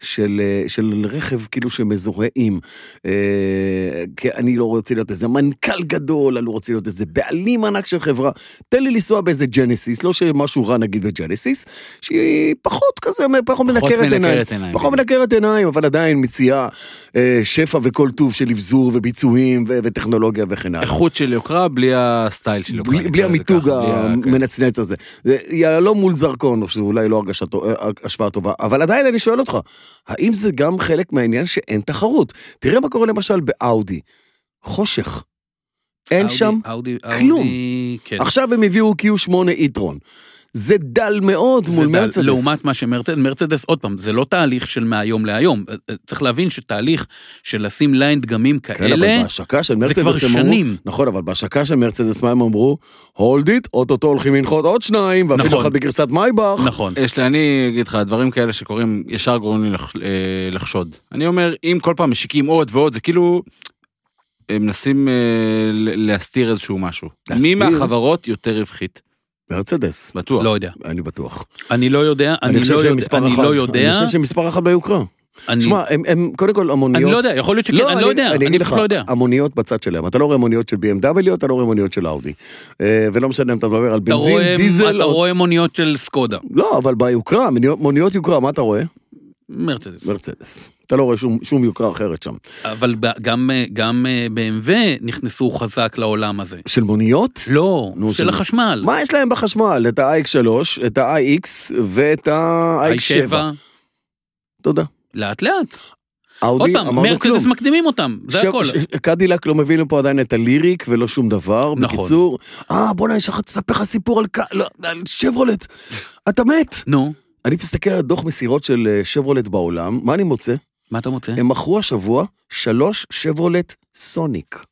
[SPEAKER 1] של, אה, של רכב כאילו שמזוהה עם. אה, כי אני לא רוצה להיות איזה מנכ"ל גדול, אני לא רוצה להיות איזה בעלים ענק של חברה. תן לי לנסוע באיזה ג'נסיס, לא שמשהו רע נגיד בג'נסיס, שהיא פחות כזה, פחות, פחות מנקרת עיניים.
[SPEAKER 3] מנקרת עיניים,
[SPEAKER 1] פחות
[SPEAKER 3] כן.
[SPEAKER 1] מנקרת עיניים, אבל עדיין מציעה אה, שפע וכל טוב של אבזור וביצועים ו- וטכנולוגיה וכן הלאה.
[SPEAKER 3] איכות של יוקרה בלי הסטייל של יוקרה.
[SPEAKER 1] בלי,
[SPEAKER 3] נקרא
[SPEAKER 1] בלי
[SPEAKER 3] לזה
[SPEAKER 1] המיתוג
[SPEAKER 3] ככה, בלי ה- כן.
[SPEAKER 1] המנצנץ הזה. זה יהלום מול זרקון, שזה אולי לא הרגשה טו- אה, השוואה טובה, אבל עדיין אני שואל אותך, האם זה גם חלק מהעניין שאין תחרות? תראה מה קורה למשל באאודי, חושך. אין
[SPEAKER 2] אאודי-
[SPEAKER 1] שם
[SPEAKER 2] אאודי-
[SPEAKER 1] כלום.
[SPEAKER 2] אאודי- כן.
[SPEAKER 1] עכשיו הם הביאו Q8 איטרון. זה דל מאוד מול
[SPEAKER 2] זה דל-
[SPEAKER 1] מרצדס.
[SPEAKER 2] לעומת מה שמרצדס, מרצדס, עוד פעם, זה לא תהליך של מהיום להיום. אה, אה, צריך להבין שתהליך של לשים ליין דגמים
[SPEAKER 1] כן, אבל
[SPEAKER 2] כאלה,
[SPEAKER 1] בהשקה של מרצדס
[SPEAKER 2] כבר
[SPEAKER 1] הם אמרו-
[SPEAKER 2] שנים.
[SPEAKER 1] נכון, אבל בהשקה של מרצדס מה הם אמרו? הולד איט, אוטוטו הולכים לנחות עוד שניים, ואפילו
[SPEAKER 2] נכון.
[SPEAKER 1] אחד בגרסת מייבך. [LAUGHS]
[SPEAKER 2] נכון.
[SPEAKER 3] יש לי, אני אגיד לך, דברים כאלה שקורים ישר גורמים לי לח, אה, לחשוד. אני אומר, אם כל פעם משיקים עוד ועוד, זה כאילו... הם מנסים אה, ל- להסתיר איזשהו משהו.
[SPEAKER 1] להסתיר?
[SPEAKER 3] מי מהחברות יותר רווחית?
[SPEAKER 1] מרצדס,
[SPEAKER 3] בטוח.
[SPEAKER 2] לא יודע.
[SPEAKER 1] אני בטוח.
[SPEAKER 2] אני לא יודע, אני
[SPEAKER 1] חושב
[SPEAKER 2] לא
[SPEAKER 1] שהם
[SPEAKER 2] יודע,
[SPEAKER 1] מספר
[SPEAKER 2] אני
[SPEAKER 1] אחת.
[SPEAKER 2] לא יודע,
[SPEAKER 1] אני חושב שהם מספר אחת ביוקרה.
[SPEAKER 2] אני-
[SPEAKER 1] שמע, הם- הם קודם כל המוניות...
[SPEAKER 2] אני לא יודע, יכול להיות שכן, אני לא יודע, אני
[SPEAKER 1] אגיד
[SPEAKER 2] פשוט
[SPEAKER 1] לך,
[SPEAKER 2] לא יודע.
[SPEAKER 1] המוניות בצד שלהם. אתה לא רואה מוניות של BMW, אתה לא רואה מוניות של אאודי. אה, ולא משנה אם אתה מדבר על
[SPEAKER 2] אתה
[SPEAKER 1] בנזין,
[SPEAKER 2] רואה-
[SPEAKER 1] דיזל...
[SPEAKER 2] אתה
[SPEAKER 1] או-
[SPEAKER 2] רואה מוניות של סקודה,
[SPEAKER 1] לא, אבל ביוקרה, מוניות- מוניות יוקרה, מה אתה רואה?
[SPEAKER 2] מרצדס.
[SPEAKER 1] מרצדס. אתה לא רואה שום- שום יוקרה אחרת שם.
[SPEAKER 2] אבל ב- גם, אה, גם אה, BMW נכנסו חזק לעולם הזה.
[SPEAKER 1] של מוניות?
[SPEAKER 2] לא,
[SPEAKER 1] נו,
[SPEAKER 2] של
[SPEAKER 1] של-
[SPEAKER 2] החשמל.
[SPEAKER 1] מה יש להם בחשמל? את ה-IX3, את ה-IX ואת ה-IX7.
[SPEAKER 2] i7,
[SPEAKER 1] תודה.
[SPEAKER 2] לאט לאט. עוד
[SPEAKER 1] אאודי,
[SPEAKER 2] פעם,
[SPEAKER 1] אמרנו
[SPEAKER 2] מרצדס
[SPEAKER 1] כלום.
[SPEAKER 2] מקדימים אותם,
[SPEAKER 1] ש-
[SPEAKER 2] זה הכל.
[SPEAKER 1] ש- קדילק לא מביא לפה עדיין את הליריק ולא שום דבר.
[SPEAKER 2] נכון.
[SPEAKER 1] בקיצור, אה, בוא'נה, אני שכחתי לספר לך סיפור על ק- לא, על שברולט. אתה מת.
[SPEAKER 2] נו,
[SPEAKER 1] אני מסתכל על הדוח מסירות של אה, שברולט בעולם, מה אני מוצא?
[SPEAKER 2] מה אתה מוצא?
[SPEAKER 1] הם מכרו השבוע שלוש שברולט סוניק.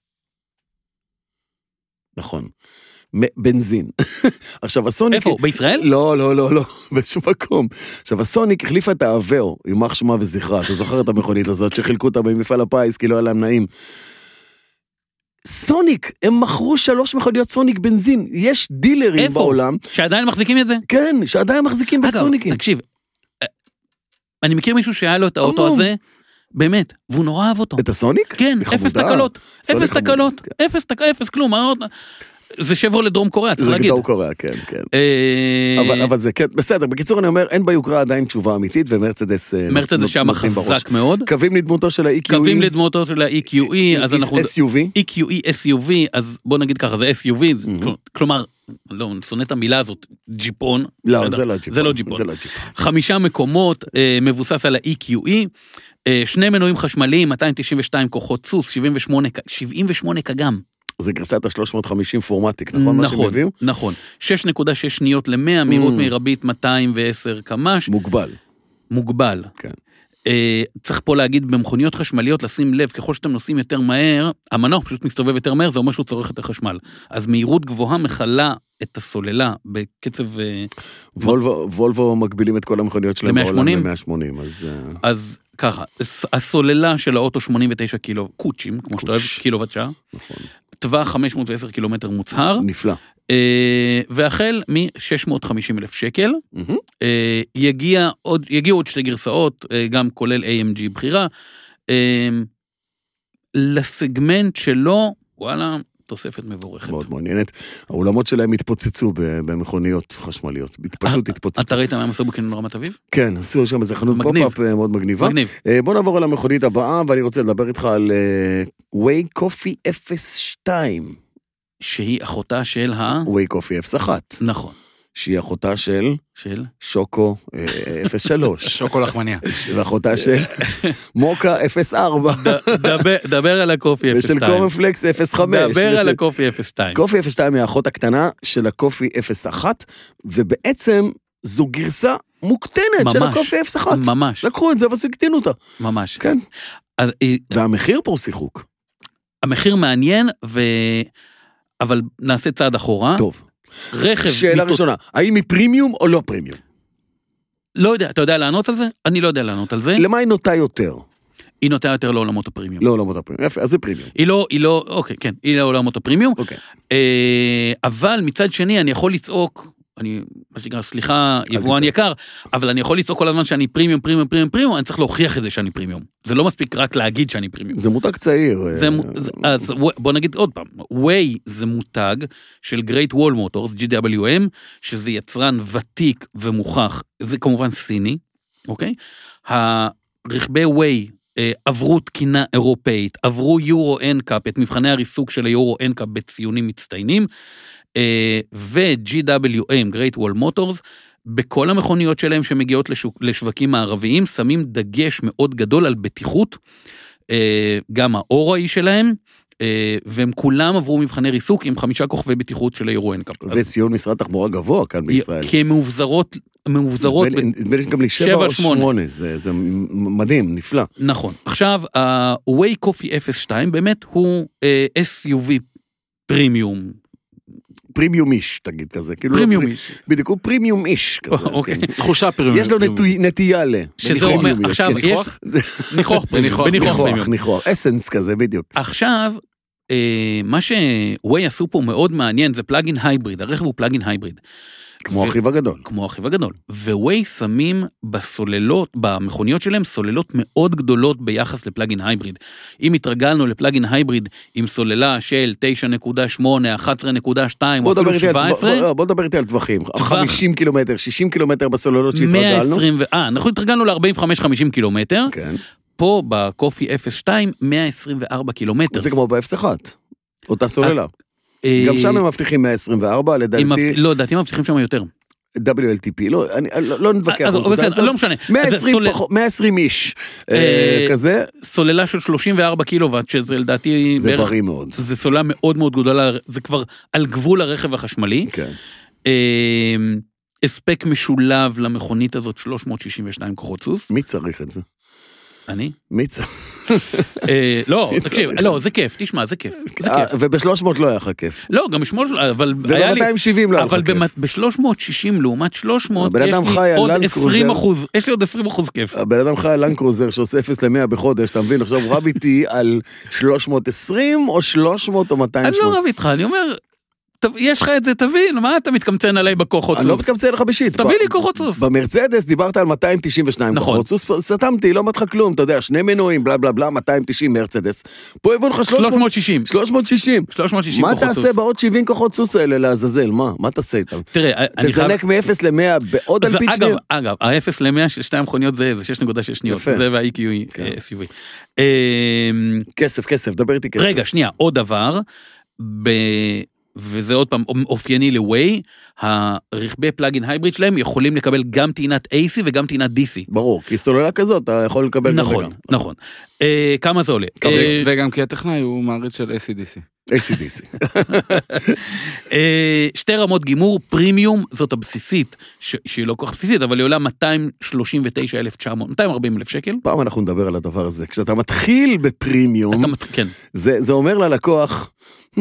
[SPEAKER 1] נכון. מ- בנזין. [LAUGHS] עכשיו, הסוניק...
[SPEAKER 2] איפה? בישראל?
[SPEAKER 1] לא, לא, לא, [LAUGHS] לא, בשום מקום. עכשיו, הסוניק החליפה את האבאו, יימח שמה וזכרה. אתה זוכר את המכונית הזאת שחילקו אותה במפעל הפיס כי לא היה להם נעים. סוניק, הם מכרו שלוש מכוניות סוניק בנזין. יש דילרים
[SPEAKER 2] איפה?
[SPEAKER 1] בעולם,
[SPEAKER 2] שעדיין מחזיקים את זה?
[SPEAKER 1] כן, שעדיין מחזיקים
[SPEAKER 2] אגב,
[SPEAKER 1] בסוניקים.
[SPEAKER 2] תקשיב, אה, אני מכיר מישהו שהיה לו את האוטו
[SPEAKER 1] המום.
[SPEAKER 2] הזה, באמת, והוא נורא אהב אותו.
[SPEAKER 1] את הסוניק?
[SPEAKER 2] כן,
[SPEAKER 1] היא
[SPEAKER 2] אפס
[SPEAKER 1] חמודה.
[SPEAKER 2] תקלות,
[SPEAKER 1] סוניק
[SPEAKER 2] אפס
[SPEAKER 1] חמודה,
[SPEAKER 2] תקלות,
[SPEAKER 1] כן.
[SPEAKER 2] אפס תק- אפס כלום, מה עוד? זה שברולט דרום קוריאה, צריך
[SPEAKER 1] זה
[SPEAKER 2] להגיד.
[SPEAKER 1] גדול קוריאה, כן, כן.
[SPEAKER 2] אה,
[SPEAKER 1] אבל, אבל זה כן, בסדר, בקיצור אני אומר, אין ביוקרה עדיין תשובה אמיתית, ומרצדס... אה,
[SPEAKER 2] מרצדס
[SPEAKER 1] נות-
[SPEAKER 2] שם
[SPEAKER 1] נותנים בראש.
[SPEAKER 2] חזק מאוד.
[SPEAKER 1] קווים לדמותו של E, ה-EQE.
[SPEAKER 2] קווים לדמותו של ה-EQE,
[SPEAKER 1] אה, E
[SPEAKER 2] אז אנחנו... E
[SPEAKER 1] SUV.
[SPEAKER 2] EQE, SUV, אז בוא נגיד ככה, זה SUV, זה-
[SPEAKER 1] Mhm.
[SPEAKER 2] כלומר, לא, אני שונא את המילה הזאת, ג'יפון.
[SPEAKER 1] לא,
[SPEAKER 2] בסדר,
[SPEAKER 1] זה לא ג'יפון.
[SPEAKER 2] זה לא ג'יפון.
[SPEAKER 1] זה לא ג'יפון.
[SPEAKER 2] חמישה מקומות, אה, מבוסס על ה-EQE, אה, שני מנועים חשמליים, 292 כוחות סוס, 78 ק- 78 קגם.
[SPEAKER 1] זה גרסת ה-350 פורמטיק, נכון? מה שהם Mm.
[SPEAKER 2] נכון,
[SPEAKER 1] הביאו?
[SPEAKER 2] נכון. 6.6 שניות ל-100, מהירות מרבית 210 קמ"ש,
[SPEAKER 1] מוגבל.
[SPEAKER 2] מוגבל.
[SPEAKER 1] כן.
[SPEAKER 2] אה, צריך פה להגיד, במכוניות חשמליות, לשים לב, ככל שאתם נוסעים יותר מהר, המנוח פשוט מסתובב יותר מהר, זה אומר שהוא צורך יותר חשמל. אז מהירות גבוהה מכלה את הסוללה בקצב... אה,
[SPEAKER 1] וולבו, וולבו מגבילים את כל המכוניות שלהם בעולם
[SPEAKER 2] ל-180?
[SPEAKER 1] ל-180, אז... אה,
[SPEAKER 2] אז ככה, הס- הסוללה של האוטו 89 קילו, קוצ'ים, כמו שאתה אוהב,
[SPEAKER 1] קוטש.
[SPEAKER 2] קילוואט שעה.
[SPEAKER 1] נכון.
[SPEAKER 2] טווח 510 קילומטר מוצהר,
[SPEAKER 1] נפלא.
[SPEAKER 2] אה, והחל מ-650 אלף שקל,
[SPEAKER 1] מהמם.
[SPEAKER 2] אה, יגיע עוד, יגיעו עוד שתי גרסאות, אה, גם כולל AMG בחירה. אה, לסגמנט שלו, וואלה, תוספת מבורכת.
[SPEAKER 1] מאוד מעניינת. האולמות שלהם התפוצצו ב- במכוניות חשמליות. פשוט
[SPEAKER 2] אה,
[SPEAKER 1] התפוצצו.
[SPEAKER 2] אתה ראית מה הם עשו בקניון רמת אביב?
[SPEAKER 1] כן, עשו שם איזה חנות
[SPEAKER 2] מגניב.
[SPEAKER 1] פופ-אפ אה, מאוד מגניבה.
[SPEAKER 2] מגניב.
[SPEAKER 1] אה, בוא נעבור על המכונית הבאה, ואני רוצה לדבר איתך על אה, ווי קופי 02.
[SPEAKER 2] שהיא אחותה של ה...
[SPEAKER 1] ווי קופי 01,
[SPEAKER 2] נכון,
[SPEAKER 1] שהיא אחותה של
[SPEAKER 2] של...
[SPEAKER 1] שוקו אה, 03,
[SPEAKER 3] שוקו לחמניה.
[SPEAKER 1] ואחותה של מוקה 04,
[SPEAKER 2] אה, דבר על הקופי 02.
[SPEAKER 1] ושל קורנפלקס 05.
[SPEAKER 2] דבר על
[SPEAKER 1] ושל-
[SPEAKER 2] הקופי 02.
[SPEAKER 1] קופי 02 היא האחות הקטנה של הקופי 01, ובעצם זו גרסה מוקטנת של
[SPEAKER 2] ממש.
[SPEAKER 1] הקופי 01.
[SPEAKER 2] ממש,
[SPEAKER 1] לקחו את זה ואז הקטינו אותה,
[SPEAKER 2] ממש.
[SPEAKER 1] לא- כן.
[SPEAKER 2] אז אה,
[SPEAKER 1] והמחיר פה הוא שיחוק.
[SPEAKER 2] המחיר מעניין, ו... אבל נעשה צעד אחורה.
[SPEAKER 1] טוב,
[SPEAKER 2] רכב...
[SPEAKER 1] שאלה
[SPEAKER 2] מתות-
[SPEAKER 1] ראשונה, האם היא פרימיום או לא פרימיום?
[SPEAKER 2] כן. לא יודע, אתה יודע לענות על זה? אני לא יודע לענות על זה.
[SPEAKER 1] למה היא נוטה יותר?
[SPEAKER 2] היא נוטה יותר לעולמות הפרימיום.
[SPEAKER 1] לא, לא מוטה פרימיום. יפה, אז זה פרימיום.
[SPEAKER 2] היא לא, היא לא, אוקיי, כן, היא לעולמות הפרימיום.
[SPEAKER 1] אוקיי.
[SPEAKER 2] אה, אבל מצד שני, אני יכול לצעוק, אני, מה שנקרא, סליחה, יבואן
[SPEAKER 1] תצעק.
[SPEAKER 2] יקר, אבל אני יכול לצעוק כל הזמן שאני פרימיום, פרימיום, פרימיום, פרימיום, אני צריך להוכיח את זה שאני פרימיום. זה לא מספיק רק להגיד שאני פרימיום.
[SPEAKER 1] זה מותג צעיר.
[SPEAKER 2] זה,
[SPEAKER 1] אה,
[SPEAKER 2] מו- זה- אז ו- בוא נגיד עוד פעם, ווי זה מותג של Great Wall Motors, GWM, שזה יצרן ותיק ומוכח, זה כמובן סיני, אוקיי? הרכבי ווי אה, עברו תקינה אירופאית, עברו יורו אנקאפ, את מבחני הריסוק של היורו אנקאפ בציונים מצטיינים, אה, ו-GWM, Great Wall Motors, בכל המכוניות שלהם שמגיעות לשוק, לשווקים מערביים, שמים דגש מאוד גדול על בטיחות, אה, גם האור ההיא שלהם, אה, והם כולם עברו מבחני ריסוק עם חמישה כוכבי בטיחות של היורו אנקאפ. אז-
[SPEAKER 1] אה, וציון משרד תחבורה גבוה כאן בישראל.
[SPEAKER 2] כי הן מאובזרות, מאובזרות,
[SPEAKER 1] נדמה לי-
[SPEAKER 2] ב-
[SPEAKER 1] נדמה לי שגם לי
[SPEAKER 2] שבע,
[SPEAKER 1] שבע או
[SPEAKER 2] שמונה.
[SPEAKER 1] שמונה, זה זה מדהים, נפלא.
[SPEAKER 2] נכון. עכשיו, ה-Way Coffee 02 באמת הוא אה, SUV פרימיום,
[SPEAKER 1] פרימיום איש, תגיד כזה. כאילו לא
[SPEAKER 2] פרימיום
[SPEAKER 1] פרי-
[SPEAKER 2] איש.
[SPEAKER 1] בדיוק, הוא פרימיום איש כזה.
[SPEAKER 2] [LAUGHS] אוקיי.
[SPEAKER 1] כן.
[SPEAKER 3] תחושה פרימיום.
[SPEAKER 1] יש לו נטוי- נטייה ל...
[SPEAKER 2] שזה אומר,
[SPEAKER 1] פרימיומיות,
[SPEAKER 2] עכשיו,
[SPEAKER 1] כן.
[SPEAKER 2] יש...
[SPEAKER 1] [LAUGHS]
[SPEAKER 2] ניחוח פרימיום, בניחוח פרימיום.
[SPEAKER 1] ניחוח, ניחוח, אסנס כזה, בדיוק.
[SPEAKER 2] עכשיו, אה, מה ש-Way עשו פה מאוד מעניין זה פלאגין הייבריד, הרכב הוא פלאגין הייבריד.
[SPEAKER 1] כמו
[SPEAKER 2] ו-
[SPEAKER 1] אחיו הגדול.
[SPEAKER 2] כמו האחיו הגדול. וויי שמים בסוללות, במכוניות שלהם, סוללות מאוד גדולות ביחס לפלאגין הייבריד. אם התרגלנו לפלאגין הייבריד עם סוללה של 9.8, 11.2 או
[SPEAKER 1] בוא
[SPEAKER 2] אפילו
[SPEAKER 1] נדבר איתי על טווח- לא,
[SPEAKER 2] 17,
[SPEAKER 1] בוא- בוא נדבר איתי על טווחים. 50 קילומטר, 60 קילומטר בסוללות שהתרגלנו.
[SPEAKER 2] 120 ו... אה, אנחנו התרגלנו ל-45-50 קילומטר,
[SPEAKER 1] כן.
[SPEAKER 2] פה בקופי 02, 124 קילומטר.
[SPEAKER 1] זה כמו ב-0-1. אותה סוללה.
[SPEAKER 2] אה,
[SPEAKER 1] גם שם הם מבטיחים 124,
[SPEAKER 2] הם מבט-
[SPEAKER 1] לדעתי
[SPEAKER 2] לא, לדעתי הם מבטיחים שם יותר.
[SPEAKER 1] WLTP, לא, אני, לא, לא נתווכח.
[SPEAKER 2] אז
[SPEAKER 1] על הנקודה
[SPEAKER 2] בסדר,
[SPEAKER 1] הזאת.
[SPEAKER 2] לא משנה. אז זה
[SPEAKER 1] 120
[SPEAKER 2] סולל-
[SPEAKER 1] פחות- 120 איש אה,
[SPEAKER 2] אה,
[SPEAKER 1] כזה,
[SPEAKER 2] סוללה של 34 קילוואט, שזה לדעתי
[SPEAKER 1] זה
[SPEAKER 2] בערך...
[SPEAKER 1] בריא מאוד.
[SPEAKER 2] זה סוללה מאוד מאוד גדולה, זה כבר על גבול הרכב החשמלי.
[SPEAKER 1] כן.
[SPEAKER 2] אה, הספק משולב למכונית הזאת 362 כוחות סוס,
[SPEAKER 1] מי צריך את זה?
[SPEAKER 2] אני?
[SPEAKER 1] מי צריך?
[SPEAKER 2] אה,
[SPEAKER 1] [LAUGHS]
[SPEAKER 2] לא,
[SPEAKER 1] מי
[SPEAKER 2] תקשיב,
[SPEAKER 1] צריך?
[SPEAKER 2] לא, זה כיף, תשמע, זה כיף. זה
[SPEAKER 1] אה,
[SPEAKER 2] כיף.
[SPEAKER 1] וב-300 לא היה לך כיף.
[SPEAKER 2] לא, גם בשמונה, של- אבל היה לי...
[SPEAKER 1] וב-270 לא היה לך
[SPEAKER 2] אבל
[SPEAKER 1] כיף.
[SPEAKER 2] ב-360 לעומת 300,
[SPEAKER 1] הבן
[SPEAKER 2] יש
[SPEAKER 1] אדם חי
[SPEAKER 2] לי
[SPEAKER 1] על
[SPEAKER 2] עוד
[SPEAKER 1] לנד
[SPEAKER 2] 20
[SPEAKER 1] קרוזר.
[SPEAKER 2] אחוז, יש לי עוד 20 אחוז כיף.
[SPEAKER 1] הבן אדם חי על לנקרוזר שעושה 0 ל-100 בחודש, אתה מבין? עכשיו הוא רב
[SPEAKER 2] [LAUGHS]
[SPEAKER 1] איתי על 320 או 300 או
[SPEAKER 2] אני
[SPEAKER 1] 280.
[SPEAKER 2] לא רב איתך, אני אומר, "טוב, יש לך את זה, תבין, מה אתה מתקמצן עליי בכוחות
[SPEAKER 1] אני לא
[SPEAKER 2] סוס?
[SPEAKER 1] מקמצן לך בשיט.
[SPEAKER 2] תביא
[SPEAKER 1] ב-
[SPEAKER 2] לי כוחות סוס.
[SPEAKER 1] במרצדס דיברת על 292
[SPEAKER 2] נכון.
[SPEAKER 1] כוחות סוס, סתמתי, לא אמרתי לך כלום, אתה יודע, שני מנועים, בלה בלה בלה, 290 מרצדס. פה הביאו לך 300,
[SPEAKER 2] 360.
[SPEAKER 1] 360.
[SPEAKER 2] 360
[SPEAKER 1] מה
[SPEAKER 2] כוחות סוס.
[SPEAKER 1] תעשה בעוד 70 כוחות סוס האלה לעזאזל? מה? מה תעשה איתם?
[SPEAKER 2] תראה, אני חייב...
[SPEAKER 1] תזנק מ-0 ל-100 בעוד
[SPEAKER 2] זה-
[SPEAKER 1] אלפית
[SPEAKER 2] אגב,
[SPEAKER 1] שניות?
[SPEAKER 2] אגב, ה-0 ל-100 של שתי המכוניות זה זה 6.6 שניות,
[SPEAKER 1] יפה. כן.
[SPEAKER 2] זה וה-EQE אה, SUV. אמ,
[SPEAKER 1] כסף, כסף, דבר איתי כסף.
[SPEAKER 2] רגע, שנייה, עוד דבר, ב... וזה עוד פעם אופייני ל-Way, הרכבי פלאגין הייבריד שלהם יכולים לקבל גם טעינת AC וגם טעינת DC.
[SPEAKER 1] ברור, כי סוללה כזאת, אתה יכול לקבל גם
[SPEAKER 2] נכון,
[SPEAKER 1] וגם.
[SPEAKER 2] נכון. אה, כמה זה עולה?
[SPEAKER 1] כמה זה
[SPEAKER 2] אה,
[SPEAKER 3] וגם כי הטכנאי הוא מעריץ של ACDC.
[SPEAKER 1] ACDC.
[SPEAKER 2] אה, שתי רמות גימור, פרימיום, זאת הבסיסית, ש- שהיא לא כל כך בסיסית, אבל היא עולה 239,900, 240,000 שקל.
[SPEAKER 1] [LAUGHS] פעם אנחנו נדבר על הדבר הזה. כשאתה מתחיל בפרימיום,
[SPEAKER 2] אתה מת- כן.
[SPEAKER 1] זה, זה אומר ללקוח, "Hmm,
[SPEAKER 2] לא,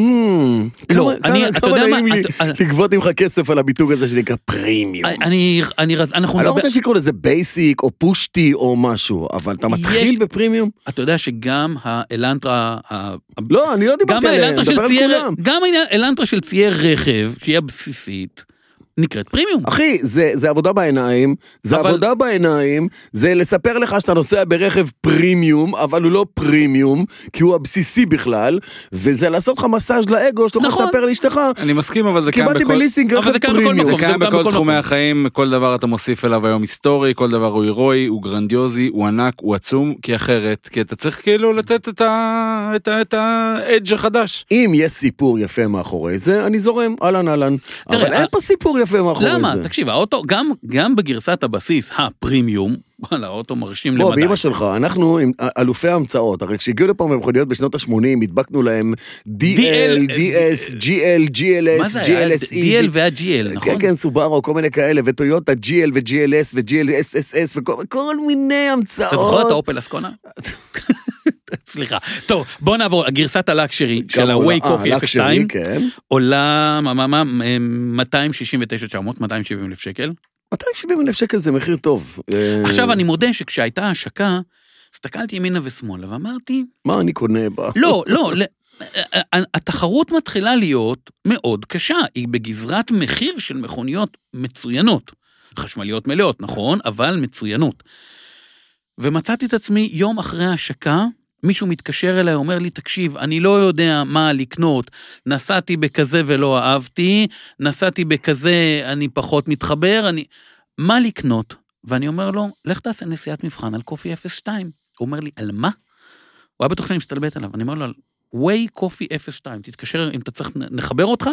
[SPEAKER 1] כמה,
[SPEAKER 2] אני-
[SPEAKER 1] כמה,
[SPEAKER 2] אתה
[SPEAKER 1] כמה
[SPEAKER 2] יודע מה,
[SPEAKER 1] נעים לי
[SPEAKER 2] אתה-
[SPEAKER 1] לגבות ממך כסף על הביטוי הזה שנקרא פרימיום.
[SPEAKER 2] אני, אני, אני, רצ- אנחנו
[SPEAKER 1] אני לא
[SPEAKER 2] נדבר,
[SPEAKER 1] רוצה שיקראו לזה בייסיק או פושטי או משהו, אבל אתה מתחיל
[SPEAKER 2] יש-
[SPEAKER 1] בפרימיום?
[SPEAKER 2] אתה יודע שגם האלנטרה, ה-
[SPEAKER 1] לא, אני לא
[SPEAKER 2] גם
[SPEAKER 1] דיברתי עליהם,
[SPEAKER 2] האלנטרה
[SPEAKER 1] אני מדבר
[SPEAKER 2] של
[SPEAKER 1] על
[SPEAKER 2] צייר,
[SPEAKER 1] כולם.
[SPEAKER 2] גם האלנטרה של צייר רכב, שהיא הבסיסית, נקראת פרימיום.
[SPEAKER 1] אחי, זה, זה עבודה בעיניים, זה
[SPEAKER 2] אבל-
[SPEAKER 1] עבודה בעיניים, זה לספר לך שאתה נוסע ברכב פרימיום, אבל הוא לא פרימיום, כי הוא הבסיסי בכלל, וזה לעשות לך מסאז' לאגו שאתה יכול
[SPEAKER 2] נכון.
[SPEAKER 1] לספר לאשתך,
[SPEAKER 3] אני מסכים, אבל זה קיים
[SPEAKER 1] קיבלתי
[SPEAKER 3] בכל...
[SPEAKER 1] בליסינג
[SPEAKER 2] אבל
[SPEAKER 1] רכב
[SPEAKER 2] זה קיים בכל
[SPEAKER 1] פרימיום.
[SPEAKER 2] מקום.
[SPEAKER 3] זה
[SPEAKER 2] זה קיים
[SPEAKER 3] קיים
[SPEAKER 2] בכל
[SPEAKER 3] בכל תחומי
[SPEAKER 2] מקום.
[SPEAKER 3] החיים, כל דבר אתה מוסיף אליו היום היסטורי, כל דבר הוא הירואי, הוא גרנדיוזי, הוא ענק, הוא עצום, כי אחרת, כי אתה צריך כאילו לתת את ה... את ה... את האדג' החדש.
[SPEAKER 1] אם יש סיפור יפה מאחורי זה, אני זורם, אהלן אהלן.
[SPEAKER 2] תראה,
[SPEAKER 1] אבל
[SPEAKER 2] אה-
[SPEAKER 1] אין פה סיפור יפה מאחורי זה.
[SPEAKER 2] למה? תקשיב, האוטו, גם, גם בגרסת הבסיס, הפרימיום, וואלה, האוטו מרשים
[SPEAKER 1] בוא,
[SPEAKER 2] למדי.
[SPEAKER 1] באמא שלך, אנחנו עם א- אלופי ההמצאות, הרי כשהגיעו לפה במכוניות בשנות ה-80, הדבקנו להם DL,
[SPEAKER 2] DL,
[SPEAKER 1] DS, GL,
[SPEAKER 2] מה
[SPEAKER 1] GLS,
[SPEAKER 2] זה היה? DL
[SPEAKER 1] GLSE.
[SPEAKER 2] וה-GL,
[SPEAKER 1] E, כן,
[SPEAKER 2] נכון?
[SPEAKER 1] כן, סובארו, כל מיני כאלה, וטויוטה GL ו-GLS ו-GLSSS וכל כל מיני המצאות.
[SPEAKER 2] אתה זוכר את האופל אסקונה? [LAUGHS] סליחה. טוב, בוא נעבור, גרסת הלקשרי של
[SPEAKER 1] כמה עולה?
[SPEAKER 2] ה-Way
[SPEAKER 1] אה,
[SPEAKER 2] Coffee
[SPEAKER 1] לקשרי,
[SPEAKER 2] 02,
[SPEAKER 1] כן.
[SPEAKER 2] עולה, מה, מה, מה, אה, 269,900, 270 אלף שקל.
[SPEAKER 1] 270 אלף שקל זה מחיר טוב. אה,
[SPEAKER 2] עכשיו, אני מודה שכשהייתה השקה, הסתכלתי ימינה ושמאלה ואמרתי,
[SPEAKER 1] מה אני קונה בה?
[SPEAKER 2] לא, לא, ל- התחרות מתחילה להיות מאוד קשה, היא בגזרת מחיר של מכוניות מצוינות. חשמליות מלאות, נכון, אבל מצוינות. ומצאתי את עצמי יום אחרי ההשקה, מישהו מתקשר אליי, אומר לי, תקשיב, אני לא יודע מה לקנות, נסעתי בכזה ולא אהבתי, נסעתי בכזה, אני פחות מתחבר, אני... מה לקנות? ואני אומר לו, לך תעשה נסיעת מבחן על קופי 02. הוא אומר לי, על מה? הוא היה בטוח שאני מסתלבט עליו, אני אומר לו, על ווי קופי 02, תתקשר, אם אתה צריך, נ- נחבר אותך,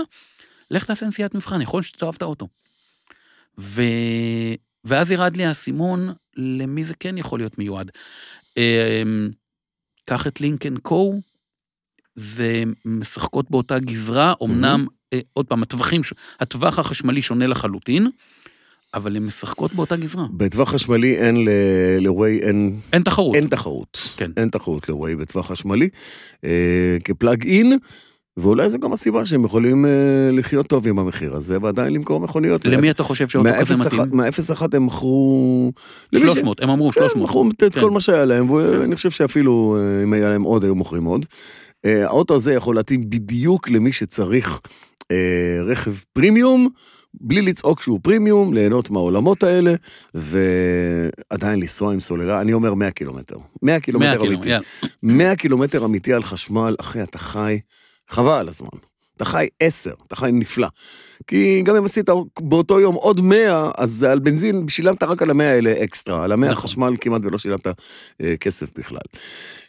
[SPEAKER 2] לך תעשה נסיעת מבחן, יכול להיות שאתה אוהב את האוטו. ו... ואז ירד לי האסימון, למי זה כן יכול להיות מיועד. אמ, קח את לינקן קו, זה משחקות באותה גזרה, אמנם,
[SPEAKER 1] Mm-hmm.
[SPEAKER 2] אה, עוד פעם, הטווחים, ש- הטווח החשמלי שונה לחלוטין, אבל הן משחקות באותה גזרה.
[SPEAKER 1] בטווח חשמלי אין ל- ל-Way, אין
[SPEAKER 2] אין תחרות.
[SPEAKER 1] אין תחרות.
[SPEAKER 2] כן.
[SPEAKER 1] אין תחרות ל-Way בטווח חשמלי. אה, כפלאג אין, ואולי זו גם הסיבה שהם יכולים אה, לחיות טוב עם המחיר הזה, ועדיין למכור מכוניות.
[SPEAKER 2] למי אתה חושב שאוטו כזה מתאים?
[SPEAKER 1] מה-0.1 הם מכרו... למי ש-
[SPEAKER 2] 300, הם אמרו
[SPEAKER 1] כן,
[SPEAKER 2] 300.
[SPEAKER 1] מכרו את
[SPEAKER 2] כן.
[SPEAKER 1] כל מה שהיה להם, ואני חושב שאפילו אה, אם היה להם עוד, היו מוכרים עוד. אה, האוטו הזה יכול להתאים בדיוק למי שצריך אה, רכב פרימיום, בלי לצעוק שהוא פרימיום, ליהנות מהעולמות האלה, ועדיין לנסוע עם סוללה, אני אומר 100 קילומטר. 100
[SPEAKER 2] 100
[SPEAKER 1] קילומטר
[SPEAKER 2] קילומטר,
[SPEAKER 1] אמיתי.
[SPEAKER 2] יאללה.
[SPEAKER 1] 100 קילומטר אמיתי על חשמל, אחי, אתה חי, חבל על הזמן. אתה חי 10, אתה חי נפלא. כי גם אם עשית באותו יום עוד 100, אז על בנזין שילמת רק על ה-100 האלה אקסטרה, על ה-100
[SPEAKER 2] נכון.
[SPEAKER 1] חשמל כמעט ולא שילמת אה, כסף בכלל.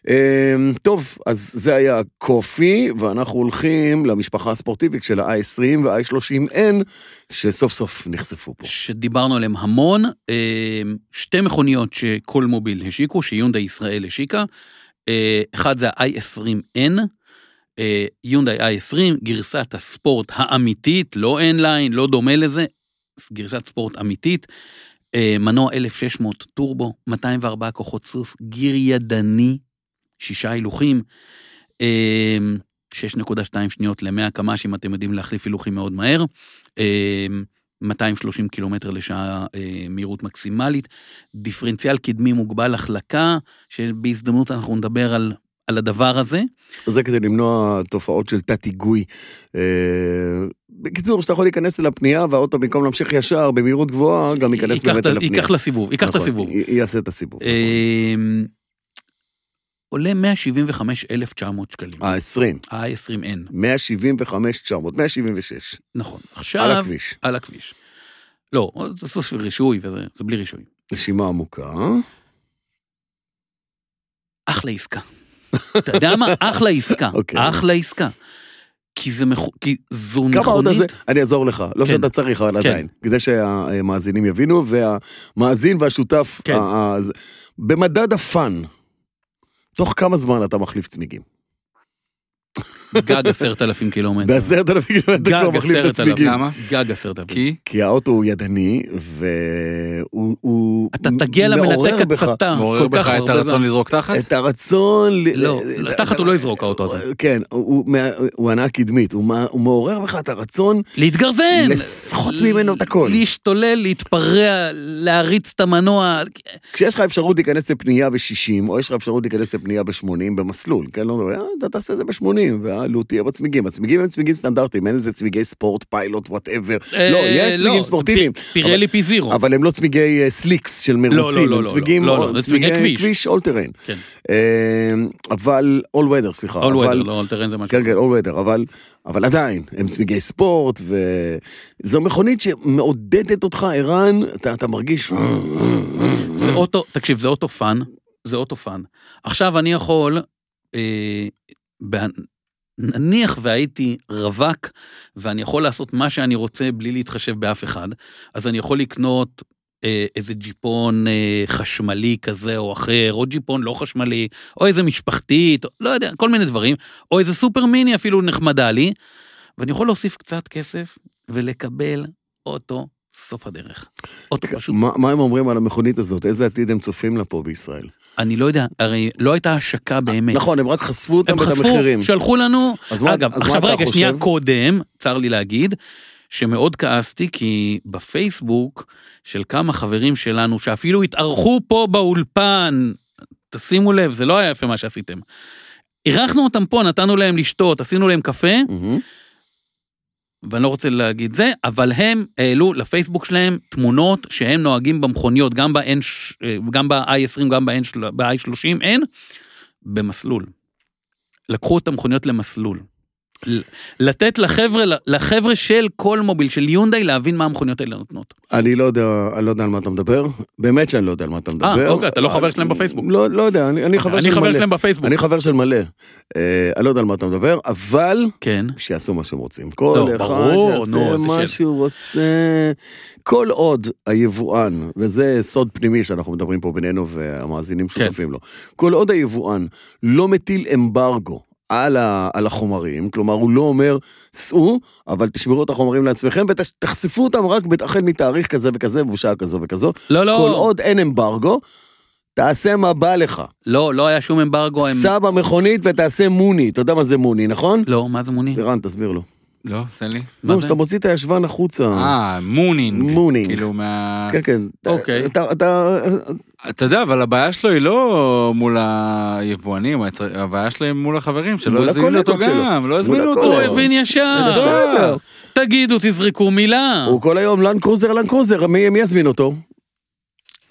[SPEAKER 1] אה, טוב, אז זה היה קופי, ואנחנו הולכים למשפחה הספורטיבית של ה-i20 וה-i30N, שסוף סוף נחשפו פה.
[SPEAKER 2] שדיברנו עליהם המון, אה, שתי מכוניות שכל מוביל השיקו, שיונדאי ישראל השיקה, אה, אחד זה ה-i20N, אה, יונדאי i20, גרסת הספורט האמיתית, לא N-Line, לא דומה לזה, גרסת ספורט אמיתית, אה, מנוע 1600 טורבו, 204 כוחות סוס, גיר ידני, שישה הילוכים, אה, 6.2 שניות ל-100 קמ"ש, אם אתם יודעים להחליף הילוכים מאוד מהר. אה, 230 קילומטר לשעה אה, מהירות מקסימלית, דיפרנציאל קדמי מוגבל החלקה, שבהזדמנות אנחנו נדבר על, על הדבר הזה.
[SPEAKER 1] זה כדי למנוע תופעות של תת-היגוי. אה, בקיצור, שאתה יכול להיכנס אל הפנייה, והאוטו במקום להמשיך ישר במהירות גבוהה, גם ייכנס
[SPEAKER 2] ייקח
[SPEAKER 1] לא באמת
[SPEAKER 2] את ה-
[SPEAKER 1] אל הפנייה.
[SPEAKER 2] ייקח לסיבוב, ייקח את
[SPEAKER 1] נכון,
[SPEAKER 2] הסיבוב.
[SPEAKER 1] י- יעשה את הסיבוב.
[SPEAKER 2] אה, עולה 175,900 שקלים.
[SPEAKER 1] ה-20,
[SPEAKER 2] ה-20N,
[SPEAKER 1] 175, 900, 176,
[SPEAKER 2] נכון.
[SPEAKER 1] על
[SPEAKER 2] עכשיו,
[SPEAKER 1] הכביש.
[SPEAKER 2] על הכביש. לא, זה סוס רישוי וזה, זה בלי רישוי.
[SPEAKER 1] נשימה עמוקה.
[SPEAKER 2] אחלה עסקה. אתה יודע מה? אחלה עסקה.
[SPEAKER 1] [LAUGHS] אוקיי.
[SPEAKER 2] אחלה עסקה. כי זה מכו... כי זו מכונית...
[SPEAKER 1] כמה עוד הזה? אני אעזור לך, לא
[SPEAKER 2] כן.
[SPEAKER 1] שאתה צריך, אבל
[SPEAKER 2] כן.
[SPEAKER 1] עדיין. כדי שהמאזינים יבינו, והמאזין והשותף,
[SPEAKER 2] כן.
[SPEAKER 1] ה- ה- זה- במדד הפאן, תוך כמה זמן אתה מחליף צמיגים?
[SPEAKER 2] גג עשרת אלפים קילומטר.
[SPEAKER 1] בעשרת אלפים אתה
[SPEAKER 2] גג
[SPEAKER 1] כבר מחליף את
[SPEAKER 2] עשרת אלפים.
[SPEAKER 1] הצמיגים.
[SPEAKER 3] למה?
[SPEAKER 2] גג עשרת אלפים.
[SPEAKER 3] כי
[SPEAKER 1] כי האוטו הוא ידני, והוא הוא
[SPEAKER 2] אתה תגיע
[SPEAKER 1] מעורר
[SPEAKER 2] למנתק
[SPEAKER 1] בך
[SPEAKER 2] הצתה
[SPEAKER 3] מעורר
[SPEAKER 2] אה, כל
[SPEAKER 3] בך
[SPEAKER 2] כך
[SPEAKER 3] את
[SPEAKER 2] הרבה
[SPEAKER 3] הרצון
[SPEAKER 2] זמן.
[SPEAKER 3] לזרוק תחת?
[SPEAKER 1] את הרצון... ל-
[SPEAKER 2] לא,
[SPEAKER 1] ל-
[SPEAKER 2] תחת הוא לא יזרוק האוטו הזה.
[SPEAKER 1] כן, הוא- הוא מה- הוא הנאה קדמית, הוא מה- הוא מעורר בך את הרצון
[SPEAKER 2] להתגרזן!
[SPEAKER 1] לסחוט
[SPEAKER 2] ל-
[SPEAKER 1] ממנו את הכל.
[SPEAKER 2] להשתולל, להתפרע, להריץ את המנוע.
[SPEAKER 1] כשיש לך אפשרות להיכנס לפנייה ב-60, או יש לך אפשרות להיכנס לפנייה ב-80 במסלול, כן? לא נורא, אה, אתה תעשה את זה ב-80, והעלות תהיה בצמיגים. הצמיגים הם צמיגים סטנדרטיים, אין איזה צמיגי ספורט, פיילוט, וואטאבר. לא,
[SPEAKER 2] אה,
[SPEAKER 1] יש צמיגים ספורטיביים.
[SPEAKER 2] פ- תראה לי פי זירו.
[SPEAKER 1] אבל הם לא צמיגי אה, סליקס של
[SPEAKER 2] לא,
[SPEAKER 1] מרוצים,
[SPEAKER 2] לא,
[SPEAKER 1] הם
[SPEAKER 2] לא,
[SPEAKER 1] צמיגים
[SPEAKER 2] לא, לא, זה צמיגי כביש.
[SPEAKER 1] כביש all terrain.
[SPEAKER 2] כן.
[SPEAKER 1] אה, אבל, all weather, סליחה.
[SPEAKER 2] All
[SPEAKER 1] אבל-
[SPEAKER 2] weather, לא, all terrain זה משהו.
[SPEAKER 1] כן, כן, all weather, אבל, אבל עדיין, הם צמיגי ספורט, וזו מכונית שמעודדת אותך, ערן, אתה, אתה מרגיש...
[SPEAKER 2] Mm, זה אוטו, תקשיב, זה אוטו פאן, זה אוטו פאן. עכשיו אני יכול, אה, בה- נניח והייתי רווק, ואני יכול לעשות מה שאני רוצה בלי להתחשב באף אחד, אז אני יכול לקנות אה, איזה ג'יפון אה, חשמלי כזה או אחר, או ג'יפון לא חשמלי, או איזה משפחתית, או- לא יודע, כל מיני דברים, או איזה סופר מיני אפילו נחמדה לי, ואני יכול להוסיף קצת כסף ולקבל אוטו סוף הדרך. אוטו פשוט
[SPEAKER 1] מה, מה הם אומרים על המכונית הזאת? איזה עתיד הם צופים לה פה בישראל?
[SPEAKER 2] אני לא יודע, הרי לא הייתה השקה באמת.
[SPEAKER 1] נכון, הם רק חשפו אותם
[SPEAKER 2] הם
[SPEAKER 1] ואת
[SPEAKER 2] חשפו,
[SPEAKER 1] המחירים.
[SPEAKER 2] שלחו לנו,
[SPEAKER 1] אז מה-
[SPEAKER 2] אגב,
[SPEAKER 1] אז מה
[SPEAKER 2] עכשיו
[SPEAKER 1] אתה
[SPEAKER 2] רגע,
[SPEAKER 1] חושב?
[SPEAKER 2] שנייה קודם, צר לי להגיד, שמאוד כעסתי, כי בפייסבוק של כמה חברים שלנו, שאפילו התארחו פה באולפן, תשימו לב, זה לא היה יפה מה שעשיתם. אירחנו אותם פה, נתנו להם לשתות, עשינו להם קפה,
[SPEAKER 1] מהמם.
[SPEAKER 2] ואני לא רוצה להגיד זה, אבל הם העלו לפייסבוק שלהם תמונות שהם נוהגים במכוניות, גם ב-N, אה, גם ב-i20, גם ב-i30N, במסלול. לקחו את המכוניות למסלול. לתת לחבר'ה, לחבר'ה של כל מוביל, של יונדאי, להבין מה המכוניות האלה נותנות.
[SPEAKER 1] אני לא יודע, אני לא יודע על מה אתה מדבר. באמת שאני לא יודע על מה אתה מדבר.
[SPEAKER 2] אוקיי, אתה לא חבר שלהם בפייסבוק.
[SPEAKER 1] לא, לא יודע, אני, אני חבר
[SPEAKER 2] אני
[SPEAKER 1] של מלא.
[SPEAKER 2] חבר שלהם בפייסבוק.
[SPEAKER 1] אני חבר של מלא. אה, אני לא יודע על מה אתה מדבר, אבל...
[SPEAKER 2] כן.
[SPEAKER 1] שיעשו מה שהם רוצים. כל
[SPEAKER 2] לא,
[SPEAKER 1] אחד
[SPEAKER 2] ברור,
[SPEAKER 1] שיעשה
[SPEAKER 2] נו, כן. איזה
[SPEAKER 1] מה
[SPEAKER 2] שאלה.
[SPEAKER 1] שהוא רוצה. כל עוד היבואן, וזה סוד פנימי שאנחנו מדברים פה בינינו והמאזינים
[SPEAKER 2] כן.
[SPEAKER 1] שותפים לו, כל עוד היבואן לא מטיל אמברגו. על, ה, על החומרים, כלומר הוא לא אומר, סעו, אבל תשמרו את החומרים לעצמכם ותחשפו אותם רק בת- החל מתאריך כזה וכזה, בשעה כזו וכזו.
[SPEAKER 2] לא, לא.
[SPEAKER 1] כל עוד אין אמברגו, תעשה מה בא לך.
[SPEAKER 2] לא, לא היה שום אמברגו. הם-
[SPEAKER 1] סע במכונית ותעשה מוני. אתה יודע מה זה מוני, נכון?
[SPEAKER 2] לא, מה זה מוני?
[SPEAKER 1] ערן, תסביר לו.
[SPEAKER 3] לא, תן לי.
[SPEAKER 2] מה
[SPEAKER 1] נו,
[SPEAKER 2] זה?
[SPEAKER 1] שאתה מוציא את הישבן החוצה.
[SPEAKER 3] אה, מונינג.
[SPEAKER 1] מונינג.
[SPEAKER 3] כאילו מה...
[SPEAKER 1] כן, כן.
[SPEAKER 2] אוקיי. אה.
[SPEAKER 1] אתה- אתה...
[SPEAKER 3] אתה יודע, אבל הבעיה שלו היא לא מול היבואנים, היצר- הבעיה שלו היא מול החברים, שלא
[SPEAKER 1] מול
[SPEAKER 3] הזמינו אותו
[SPEAKER 1] הקולגות שלו.
[SPEAKER 3] גם,
[SPEAKER 1] מול
[SPEAKER 3] לא הזמינו
[SPEAKER 1] הקולגות.
[SPEAKER 3] אותו.
[SPEAKER 2] הוא הבין ישר.
[SPEAKER 1] בסדר.
[SPEAKER 2] תגידו, תזרקו מילה.
[SPEAKER 1] הוא כל היום לנד קרוזר, לנד קרוזר, מי מי יזמין אותו?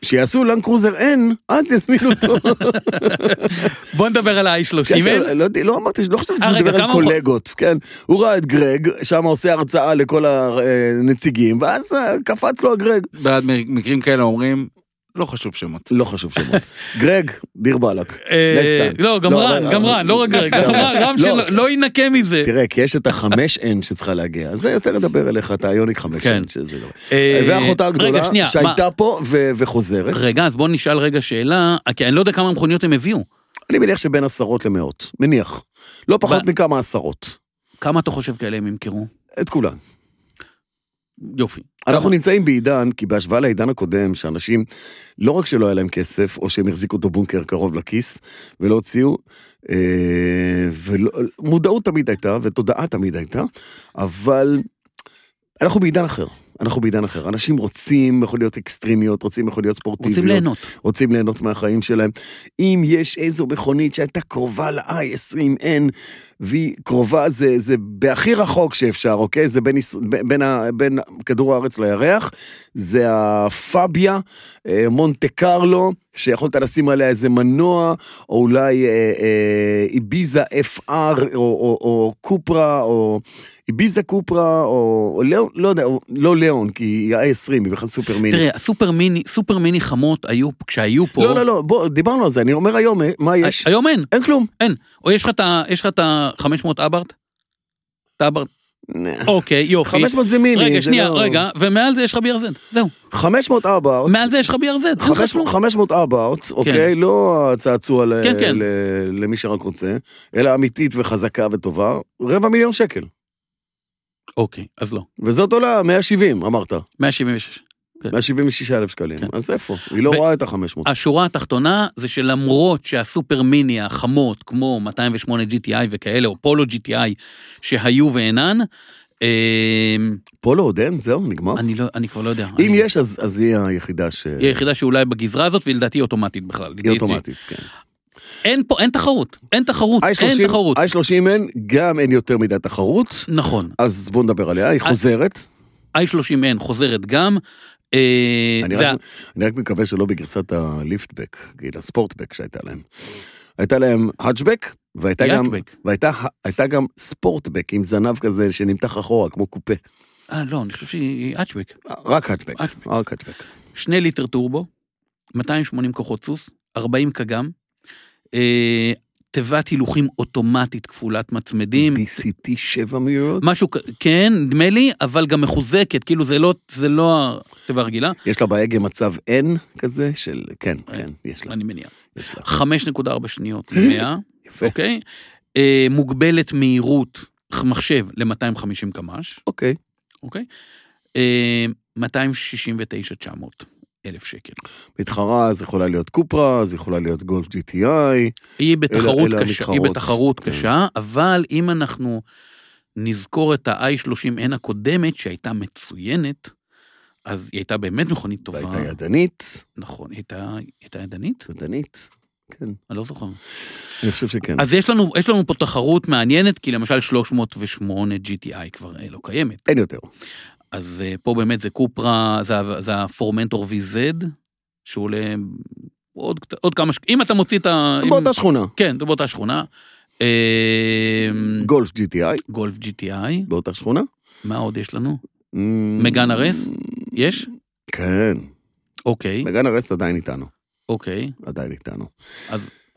[SPEAKER 1] שיעשו לנד קרוזר אין, אז יזמינו
[SPEAKER 2] [LAUGHS]
[SPEAKER 1] אותו.
[SPEAKER 2] בוא נדבר על ה-i30.
[SPEAKER 1] אוקיי. כן,
[SPEAKER 2] אין?
[SPEAKER 1] כן, לא יודע, לא אמרתי, לא חשבתי
[SPEAKER 2] אה,
[SPEAKER 1] שהוא
[SPEAKER 2] רגע,
[SPEAKER 1] דיבר על
[SPEAKER 2] כמה הוא-
[SPEAKER 1] קולגות, כן. הוא ראה את גרג, שם עושה הרצאה לכל הנציגים, ואז אה, קפץ לו הגרג.
[SPEAKER 3] בעד מקרים כאלה אומרים, לא
[SPEAKER 2] [LAUGHS]
[SPEAKER 3] חשוב שמות.
[SPEAKER 1] לא חשוב שמות. גרג, דיר באלק.
[SPEAKER 2] אה,
[SPEAKER 1] Next time.
[SPEAKER 2] לא, גם
[SPEAKER 1] לא,
[SPEAKER 2] רן,
[SPEAKER 1] לא,
[SPEAKER 2] גם
[SPEAKER 1] לא.
[SPEAKER 2] רן, לא רק גרג, גם
[SPEAKER 1] לא,
[SPEAKER 2] רן, רם
[SPEAKER 1] לא.
[SPEAKER 2] שלא לא יינקה מזה.
[SPEAKER 1] תראה, כי יש את החמש N שצריכה להגיע, אז זה יותר לדבר אליך, אתה היוניק חמש
[SPEAKER 2] כן.
[SPEAKER 1] N. שזה לא-
[SPEAKER 2] אה,
[SPEAKER 1] ואחותה
[SPEAKER 2] רגע,
[SPEAKER 1] הגדולה,
[SPEAKER 2] שנייה,
[SPEAKER 1] שהייתה פה ו- וחוזרת.
[SPEAKER 2] רגע, אז בוא נשאל רגע שאלה, כי אני לא יודע כמה מכוניות הם הביאו.
[SPEAKER 1] אני מניח שבין עשרות למאות, מניח. לא פחות
[SPEAKER 2] ב-
[SPEAKER 1] מכמה עשרות.
[SPEAKER 2] כמה אתה חושב כאלה הם ימכרו?
[SPEAKER 1] את כולן.
[SPEAKER 2] יופי.
[SPEAKER 1] אנחנו נמצאים בעידן, כי בהשוואה לעידן הקודם, שאנשים, לא רק שלא היה להם כסף, או שהם החזיקו אותו בונקר קרוב לכיס, ולא הוציאו, אה, ולא- מודעות תמיד הייתה, ותודעה תמיד הייתה, אבל אנחנו בעידן אחר. אנחנו בעידן אחר. אנשים רוצים מכוניות אקסטרימיות, רוצים מכוניות ספורטיביות.
[SPEAKER 2] רוצים ליהנות.
[SPEAKER 1] רוצים ליהנות מהחיים שלהם. אם יש איזו מכונית שהייתה קרובה ל-i20N, והיא קרובה, זה, זה בהכי רחוק שאפשר, אוקיי? זה בין, יש- ב- בין, ה- בין כדור הארץ לירח, זה הפאביה, אה, מונטה קרלו, שיכולת לשים עליה איזה מנוע, או אולי אה, אה, איביזה FR, או, או, או קופרה, או איביזה קופרה, או, או לאון, לא יודע, או- לא לאון, כי היא ה-i20, היא בכלל סופר מיני.
[SPEAKER 2] תראה, הסופר מיני, סופר מיני חמות היו, כשהיו פה...
[SPEAKER 1] לא, לא, לא, בוא, דיברנו על זה, אני אומר היום, אה, מה יש?
[SPEAKER 2] היום אין,
[SPEAKER 1] אין כלום.
[SPEAKER 2] אין. או יש לך את ה- יש לך את ה-500 אברט? את האברט?
[SPEAKER 1] נה.
[SPEAKER 2] אוקיי, יופי.
[SPEAKER 1] 500 זה מיני,
[SPEAKER 2] רגע,
[SPEAKER 1] זה
[SPEAKER 2] שנייה,
[SPEAKER 1] לא- אוקיי.
[SPEAKER 2] רגע, ומעל זה יש לך BRZ, זהו.
[SPEAKER 1] 500 אבאוט,
[SPEAKER 2] מעל זה יש לך BRZ, אין לך כלום.
[SPEAKER 1] 500 אבאוט, אוקיי? לא הצעצוע ל-
[SPEAKER 2] כן, כן.
[SPEAKER 1] ל- למי שרק רוצה, אלא אמיתית וחזקה וטובה, רבע מיליון שקל.
[SPEAKER 2] אוקיי, אז לא.
[SPEAKER 1] וזאת עולה 170, אמרת,
[SPEAKER 2] 176.
[SPEAKER 1] 176 אלף שקלים. אז איפה? היא לא
[SPEAKER 2] כן. ו- אה,
[SPEAKER 1] רואה את ה-500.
[SPEAKER 2] השורה התחתונה זה שלמרות שהסופר מיני החמות, כמו 208 GTI וכאלה, או פולו GTI, שהיו ואינן, אה,
[SPEAKER 1] פולו לא עוד אין? זהו, נגמר?
[SPEAKER 2] אני, לא, אני כבר לא יודע.
[SPEAKER 1] אם
[SPEAKER 2] אני-
[SPEAKER 1] יש, אז אז היא היחידה ש...
[SPEAKER 2] היא היחידה שאולי בגזרה הזאת, ולדעתי היא אוטומטית בכלל.
[SPEAKER 1] היא אוטומטית, כן.
[SPEAKER 2] אין פה, אין תחרות. אין תחרות, אין
[SPEAKER 1] i30
[SPEAKER 2] תחרות.
[SPEAKER 1] i30 אין, גם אין יותר מדי תחרות,
[SPEAKER 2] נכון.
[SPEAKER 1] אז בואו נדבר עליה, היא חוזרת.
[SPEAKER 2] i30N חוזרת גם. אה,
[SPEAKER 1] אני,
[SPEAKER 2] זה
[SPEAKER 1] רק, אני רק מקווה שלא בגרסת הליפטבק, כאילו הספורטבק שהייתה להם. הייתה להם האג'בק, והייתה גם,
[SPEAKER 2] יאטבק.
[SPEAKER 1] והייתה, הייתה גם ספורטבק עם זנב כזה שנמתח אחורה, כמו קופה.
[SPEAKER 2] ה- אה, לא, אני חושב שהיא אצ'וויק.
[SPEAKER 1] רק האג'בק,
[SPEAKER 2] האג'בק.
[SPEAKER 1] רק האג'בק.
[SPEAKER 2] שני ליטר טורבו, 280 כוחות סוס, 40 קגם, אה, תיבת הילוכים אוטומטית כפולת מצמדים.
[SPEAKER 1] DCT 7 מהירות.
[SPEAKER 2] משהו, כ- כן, נדמה לי, אבל גם מחוזקת, כאילו זה לא, זה לא התיבה הרגילה,
[SPEAKER 1] יש לה בהגה מצב N כזה של, כן, כן, יש לה,
[SPEAKER 2] אה, אני מניח.
[SPEAKER 1] יש לה.
[SPEAKER 2] 5.4 שניות ל-100,
[SPEAKER 1] יפה.
[SPEAKER 2] אוקיי? אה, מוגבלת מהירות מחשב ל-250 קמ"ש,
[SPEAKER 1] אוקיי.
[SPEAKER 2] אוקיי? אה, 269,900 אלף שקל.
[SPEAKER 1] מתחרה, אז יכולה להיות קופרה, אז יכולה להיות גולף GTI.
[SPEAKER 2] היא בתחרות
[SPEAKER 1] אלה
[SPEAKER 2] קשה, היא
[SPEAKER 1] המתחרות.
[SPEAKER 2] בתחרות
[SPEAKER 1] כן.
[SPEAKER 2] קשה, אבל אם אנחנו נזכור את ה-i30N הקודמת, שהייתה מצוינת, אז היא הייתה באמת מכונית טובה.
[SPEAKER 1] והייתה ידנית,
[SPEAKER 2] נכון, היא הייתה- היא הייתה ידנית?
[SPEAKER 1] ידנית, כן.
[SPEAKER 2] אני לא זוכר.
[SPEAKER 1] אני חושב שכן.
[SPEAKER 2] אז יש לנו, יש לנו פה תחרות מעניינת, כי למשל 308 GTI כבר אה, לא קיימת.
[SPEAKER 1] אין יותר.
[SPEAKER 2] אז אה, פה באמת זה קופרה, זה, ה- זה הפורמנטור VZ, שהוא עולה עוד, קצת- עוד כמה, שק- אם אתה מוציא את ה... אם-
[SPEAKER 1] באותה שכונה.
[SPEAKER 2] כן, זה באותה שכונה. אמ,
[SPEAKER 1] גולף GTI,
[SPEAKER 2] גולף GTI,
[SPEAKER 1] באותה שכונה. Mm.
[SPEAKER 2] מה עוד יש לנו?
[SPEAKER 1] אמ,
[SPEAKER 2] מגן הרס? יש?
[SPEAKER 1] כן,
[SPEAKER 2] אוקיי,
[SPEAKER 1] מגן הרס עדיין איתנו,
[SPEAKER 2] אוקיי.
[SPEAKER 1] עדיין איתנו.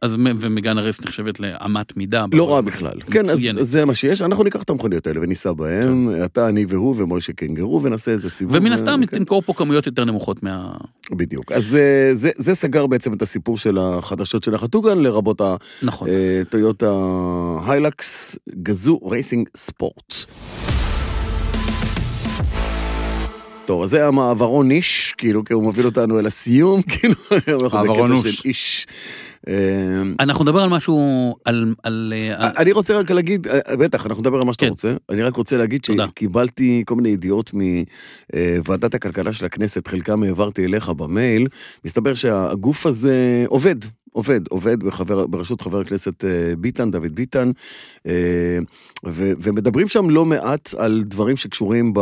[SPEAKER 2] אז מ- ומגן הרס נחשבת לאמת מידה.
[SPEAKER 1] לא
[SPEAKER 2] אבל-
[SPEAKER 1] רע בכלל. כן, אז
[SPEAKER 2] מצוינת.
[SPEAKER 1] אז זה מה שיש, אנחנו ניקח את המכוניות האלה וניסע בהם, אתה, אני והוא ומוישה קנגרו, ונעשה איזה סיבוב.
[SPEAKER 2] כן. ומן הסתם
[SPEAKER 1] כן.
[SPEAKER 2] תמכור פה כמויות יותר נמוכות מה...
[SPEAKER 1] בדיוק. אז אה, זה- זה סגר בעצם את הסיפור של החדשות של החתוגן, לרבות ה...
[SPEAKER 2] נכון.
[SPEAKER 1] אה, טויוטה היילקס גזו רייסינג ספורט. טוב, אז זה המעברון איש, כאילו, כי הוא מוביל אותנו אל הסיום, [LAUGHS] כאילו, אנחנו בקטע
[SPEAKER 3] מעברונוש.
[SPEAKER 1] של איש. אה,
[SPEAKER 2] אנחנו נדבר על משהו, על... על אה,
[SPEAKER 1] אני רוצה רק להגיד, אה, בטח, אנחנו נדבר על מה שאתה
[SPEAKER 2] כן.
[SPEAKER 1] רוצה, אני רק רוצה להגיד
[SPEAKER 2] תודה.
[SPEAKER 1] שקיבלתי כל מיני ידיעות מוועדת הכלכלה של הכנסת, חלקם העברתי אליך במייל, מסתבר שהגוף הזה עובד. עובד, עובד בחבר, בראשות חבר הכנסת אה, ביטן, דוד ביטן, אה, ו, ומדברים שם לא מעט על דברים שקשורים ב,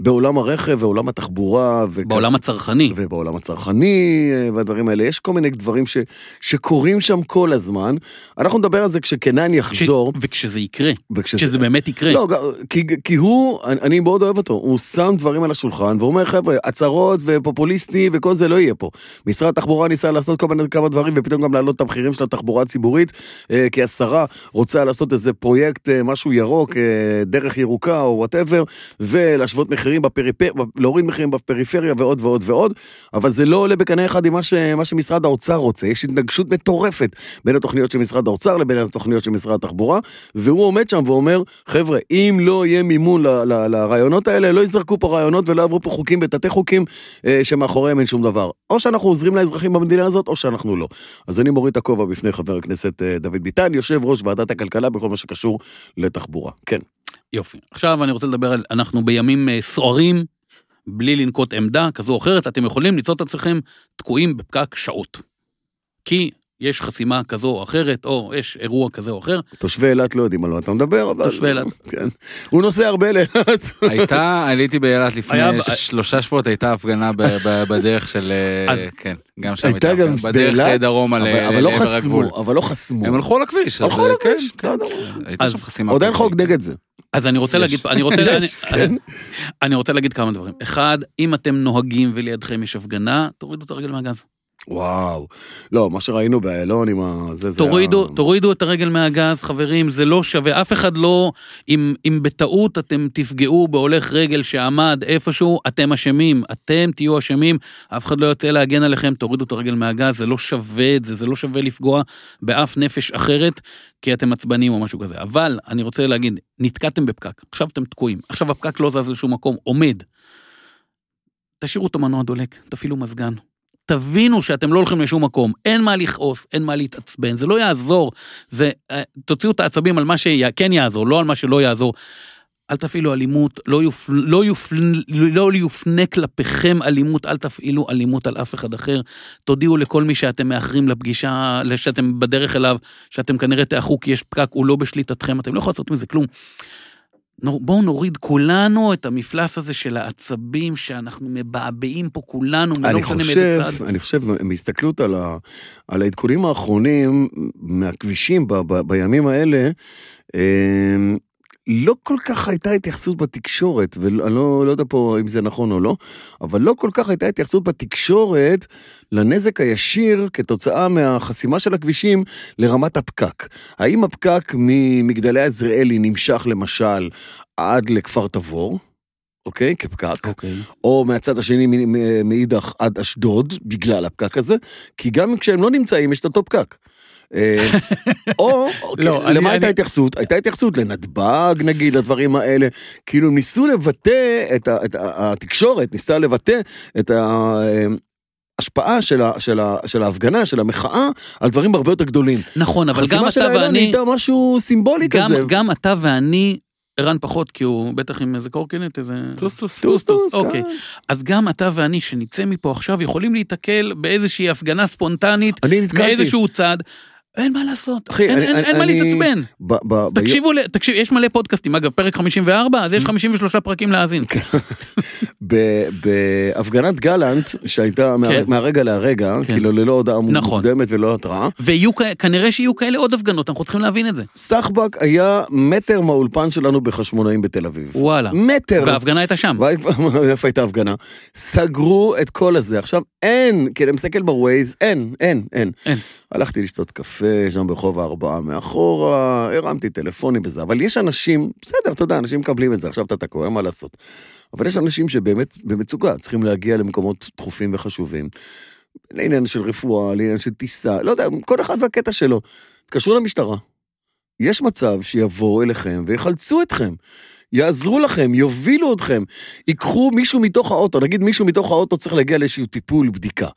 [SPEAKER 1] בעולם הרכב ועולם התחבורה. וכ-
[SPEAKER 2] בעולם הצרכני.
[SPEAKER 1] ובעולם הצרכני אה, והדברים האלה, יש כל מיני דברים ש, שקורים שם כל הזמן. אנחנו נדבר על זה כשקנן
[SPEAKER 2] כש-
[SPEAKER 1] יחזור.
[SPEAKER 2] וכשזה יקרה.
[SPEAKER 1] וכשזה-
[SPEAKER 2] כשזה באמת יקרה.
[SPEAKER 1] לא, ג- כי, כי הוא, אני- אני מאוד אוהב אותו, הוא שם דברים על השולחן ואומר, חבר'ה, הצהרות ופופוליסטי וכל זה לא יהיה פה. משרד התחבורה ניסה לעשות כל מיני כמה דברים ופתאום גם להעלות את המחירים של התחבורה הציבורית, אה, כי השרה רוצה לעשות איזה פרויקט, אה, משהו ירוק, אה, דרך ירוקה או וואטאבר, ולהשוות מחירים בפריפריה, להוריד מחירים בפריפריה ועוד ועוד ועוד, אבל זה לא עולה בקנה אחד עם מה, ש, מה שמשרד האוצר רוצה. יש התנגשות מטורפת בין התוכניות של משרד האוצר לבין התוכניות של משרד התחבורה, והוא עומד שם ואומר, חבר'ה, אם לא יהיה מימון ל- ל- לרעיונות האלה, לא יזרקו פה רעיונות ולא יעברו פה חוקים ותתי חוקים אה, שמאחוריהם אין שום דבר. או שאנחנו עוזרים לאזרחים במדינה הזאת, או שאנחנו לא. אז אני מוריד את הכובע בפני חבר הכנסת אה, דוד ביטן, יושב ראש ועדת הכלכלה בכל מה שקשור לתחבורה. כן.
[SPEAKER 2] יופי. עכשיו אני רוצה לדבר על, אנחנו בימים אה, סוערים, בלי לנקוט עמדה כזו או אחרת, אתם יכולים למצוא את עצמכם תקועים בפקק שעות. כי יש חסימה כזו או אחרת, או יש אירוע כזה או אחר.
[SPEAKER 1] תושבי אילת לא יודעים על מה אתה מדבר, אבל...
[SPEAKER 2] תושבי אילת.
[SPEAKER 1] [LAUGHS] כן. הוא נוסע הרבה
[SPEAKER 3] [LAUGHS]
[SPEAKER 1] לאילת.
[SPEAKER 3] הייתה, עליתי באילת לפני
[SPEAKER 2] היה ב-
[SPEAKER 3] שלושה שבועות, הייתה הפגנה ב- ב- בדרך של... אה,
[SPEAKER 2] אז-
[SPEAKER 3] כן, גם שם
[SPEAKER 1] הייתה
[SPEAKER 3] הייתה הפגנה.
[SPEAKER 1] גם
[SPEAKER 3] בדרך
[SPEAKER 1] באילת,
[SPEAKER 3] אה, דרומה ל-
[SPEAKER 1] אבל- אבל לא
[SPEAKER 3] לעבר הגבול.
[SPEAKER 1] חסמו, אבל לא חסמו.
[SPEAKER 3] הם הלכו על הכביש.
[SPEAKER 1] הלכו
[SPEAKER 3] אז,
[SPEAKER 1] על
[SPEAKER 3] אה, כן,
[SPEAKER 1] הכביש,
[SPEAKER 3] כן.
[SPEAKER 1] בסדר.
[SPEAKER 3] הייתה
[SPEAKER 2] אז-
[SPEAKER 3] שם חסימה.
[SPEAKER 1] עוד אין חוק
[SPEAKER 3] כביש.
[SPEAKER 1] נגד זה.
[SPEAKER 2] אז אני רוצה
[SPEAKER 3] יש.
[SPEAKER 2] להגיד, אני רוצה,
[SPEAKER 1] יש,
[SPEAKER 2] אני, אני, אני רוצה להגיד כמה דברים. אחד, אם אתם נוהגים ולידכם יש הפגנה, תורידו את הרגל מהגז.
[SPEAKER 1] וואו. לא, מה שראינו באיילון עם ה... זה, זה...
[SPEAKER 2] תורידו,
[SPEAKER 1] ה-
[SPEAKER 2] תורידו את הרגל מהגז, חברים, זה לא שווה, אף אחד לא, אם, אם בטעות אתם תפגעו בהולך רגל שעמד איפשהו, אתם אשמים, אתם תהיו אשמים, אף אחד לא יוצא להגן עליכם, תורידו את הרגל מהגז, זה לא שווה את זה, זה לא שווה לפגוע באף נפש אחרת, כי אתם עצבנים או משהו כזה. אבל, אני רוצה להגיד, נתקעתם בפקק, עכשיו אתם תקועים, עכשיו הפקק לא זז לשום מקום, עומד. תשאירו את המנוע דולק, תפעילו מזגן. תבינו שאתם לא הולכים לשום מקום, אין מה לכעוס, אין מה להתעצבן, זה לא יעזור. זה, אה, תוציאו את העצבים על מה שכן יעזור, לא על מה שלא יעזור. אל תפעילו אלימות, לא, יופ, לא, יופ, לא יופנה כלפיכם אלימות, אל תפעילו אלימות על אף אחד אחר. תודיעו לכל מי שאתם מאחרים לפגישה, שאתם בדרך אליו, שאתם כנראה תאחו כי יש פקק, הוא לא בשליטתכם, אתם לא יכולים לעשות מזה כלום. נו- בואו נוריד כולנו את המפלס הזה של העצבים שאנחנו מבעבעים פה כולנו, לא
[SPEAKER 1] אני
[SPEAKER 2] משנה מאיזה
[SPEAKER 1] חושב,
[SPEAKER 2] צד.
[SPEAKER 1] אני חושב, מהסתכלות על, ה, על העדכונים האחרונים מהכבישים ב, ב, בימים האלה, אמ, לא כל כך הייתה התייחסות בתקשורת, ואני לא, לא יודע פה אם זה נכון או לא, אבל לא כל כך הייתה התייחסות בתקשורת לנזק הישיר כתוצאה מהחסימה של הכבישים לרמת הפקק. האם הפקק ממגדלי עזריאלי נמשך למשל עד לכפר תבור, אוקיי? כפקק.
[SPEAKER 2] אוקיי.
[SPEAKER 1] או מהצד השני מ- מ- מאידך עד אשדוד, בגלל הפקק הזה, כי גם כשהם לא נמצאים יש את אותו פקק. אה,
[SPEAKER 2] [LAUGHS]
[SPEAKER 1] או,
[SPEAKER 2] לא,
[SPEAKER 1] כן,
[SPEAKER 2] אני-
[SPEAKER 1] למה הייתה
[SPEAKER 2] אני-
[SPEAKER 1] התייחסות? הייתה התייחסות לנתב"ג נגיד, לדברים האלה. כאילו הם ניסו לבטא, את ה- את ה- התקשורת ניסתה לבטא את ההשפעה של ה- של ה- של ההפגנה, של המחאה, על דברים הרבה יותר גדולים.
[SPEAKER 2] נכון, אבל גם
[SPEAKER 1] החסימה של
[SPEAKER 2] אתה
[SPEAKER 1] האילון
[SPEAKER 2] ואני,
[SPEAKER 1] נהייתה משהו סימבולי
[SPEAKER 2] גם,
[SPEAKER 1] כזה.
[SPEAKER 2] גם אתה ואני, ערן פחות, כי הוא בטח עם איזה קורקינט, איזה...
[SPEAKER 3] טוס טוס.
[SPEAKER 1] טוס טוס,
[SPEAKER 2] אוקיי.
[SPEAKER 1] כן.
[SPEAKER 2] אז גם אתה ואני, שנצא מפה עכשיו, יכולים להיתקל באיזושהי הפגנה ספונטנית,
[SPEAKER 1] אני נתקלתי.
[SPEAKER 2] מאיזשהו צד. אין מה לעשות,
[SPEAKER 1] אחי,
[SPEAKER 2] אין-
[SPEAKER 1] אני-
[SPEAKER 2] אין
[SPEAKER 1] אני-
[SPEAKER 2] אין מה
[SPEAKER 1] אני-
[SPEAKER 2] להתעצבן.
[SPEAKER 1] ב- ב- ב-
[SPEAKER 2] תקשיבו, ל- תקשיב, יש מלא פודקאסטים, אגב, פרק 54,
[SPEAKER 1] Mm.
[SPEAKER 2] אז יש 53 פרקים להאזין.
[SPEAKER 1] אוקיי. ב- בהפגנת גלנט, שהייתה מה-
[SPEAKER 2] כן.
[SPEAKER 1] מהרגע להרגע,
[SPEAKER 2] כן.
[SPEAKER 1] כאילו ללא הודעה
[SPEAKER 2] נכון.
[SPEAKER 1] מוקדמת ולא התראה,
[SPEAKER 2] ויהיו, כ- כנראה שיהיו כאלה עוד הפגנות, אנחנו צריכים להבין את זה.
[SPEAKER 1] סחבק היה מטר מהאולפן שלנו בחשמונאים בתל אביב.
[SPEAKER 2] וואלה.
[SPEAKER 1] מטר.
[SPEAKER 2] וההפגנה הייתה שם.
[SPEAKER 1] וואי, [LAUGHS] איפה הייתה הפגנה? סגרו את כל הזה. עכשיו, אין, כי אני מסתכל בווייז, אין, אין, אין.
[SPEAKER 2] אין.
[SPEAKER 1] הלכתי לשתות קפה שם ברחוב הארבעה מאחורה, הרמתי טלפונים וזה, אבל יש אנשים, בסדר, אתה יודע, אנשים מקבלים את זה, עכשיו אתה תקוע, אין מה לעשות. אבל יש אנשים שבאמת במצוקה, צריכים להגיע למקומות דחופים וחשובים. לעניין של רפואה, לעניין של טיסה, לא יודע, כל אחד והקטע שלו. תתקשרו למשטרה. יש מצב שיבואו אליכם ויחלצו אתכם. יעזרו לכם, יובילו אתכם, ייקחו מישהו מתוך האוטו, נגיד מישהו מתוך האוטו צריך להגיע לאיזשהו טיפול, בדיקה.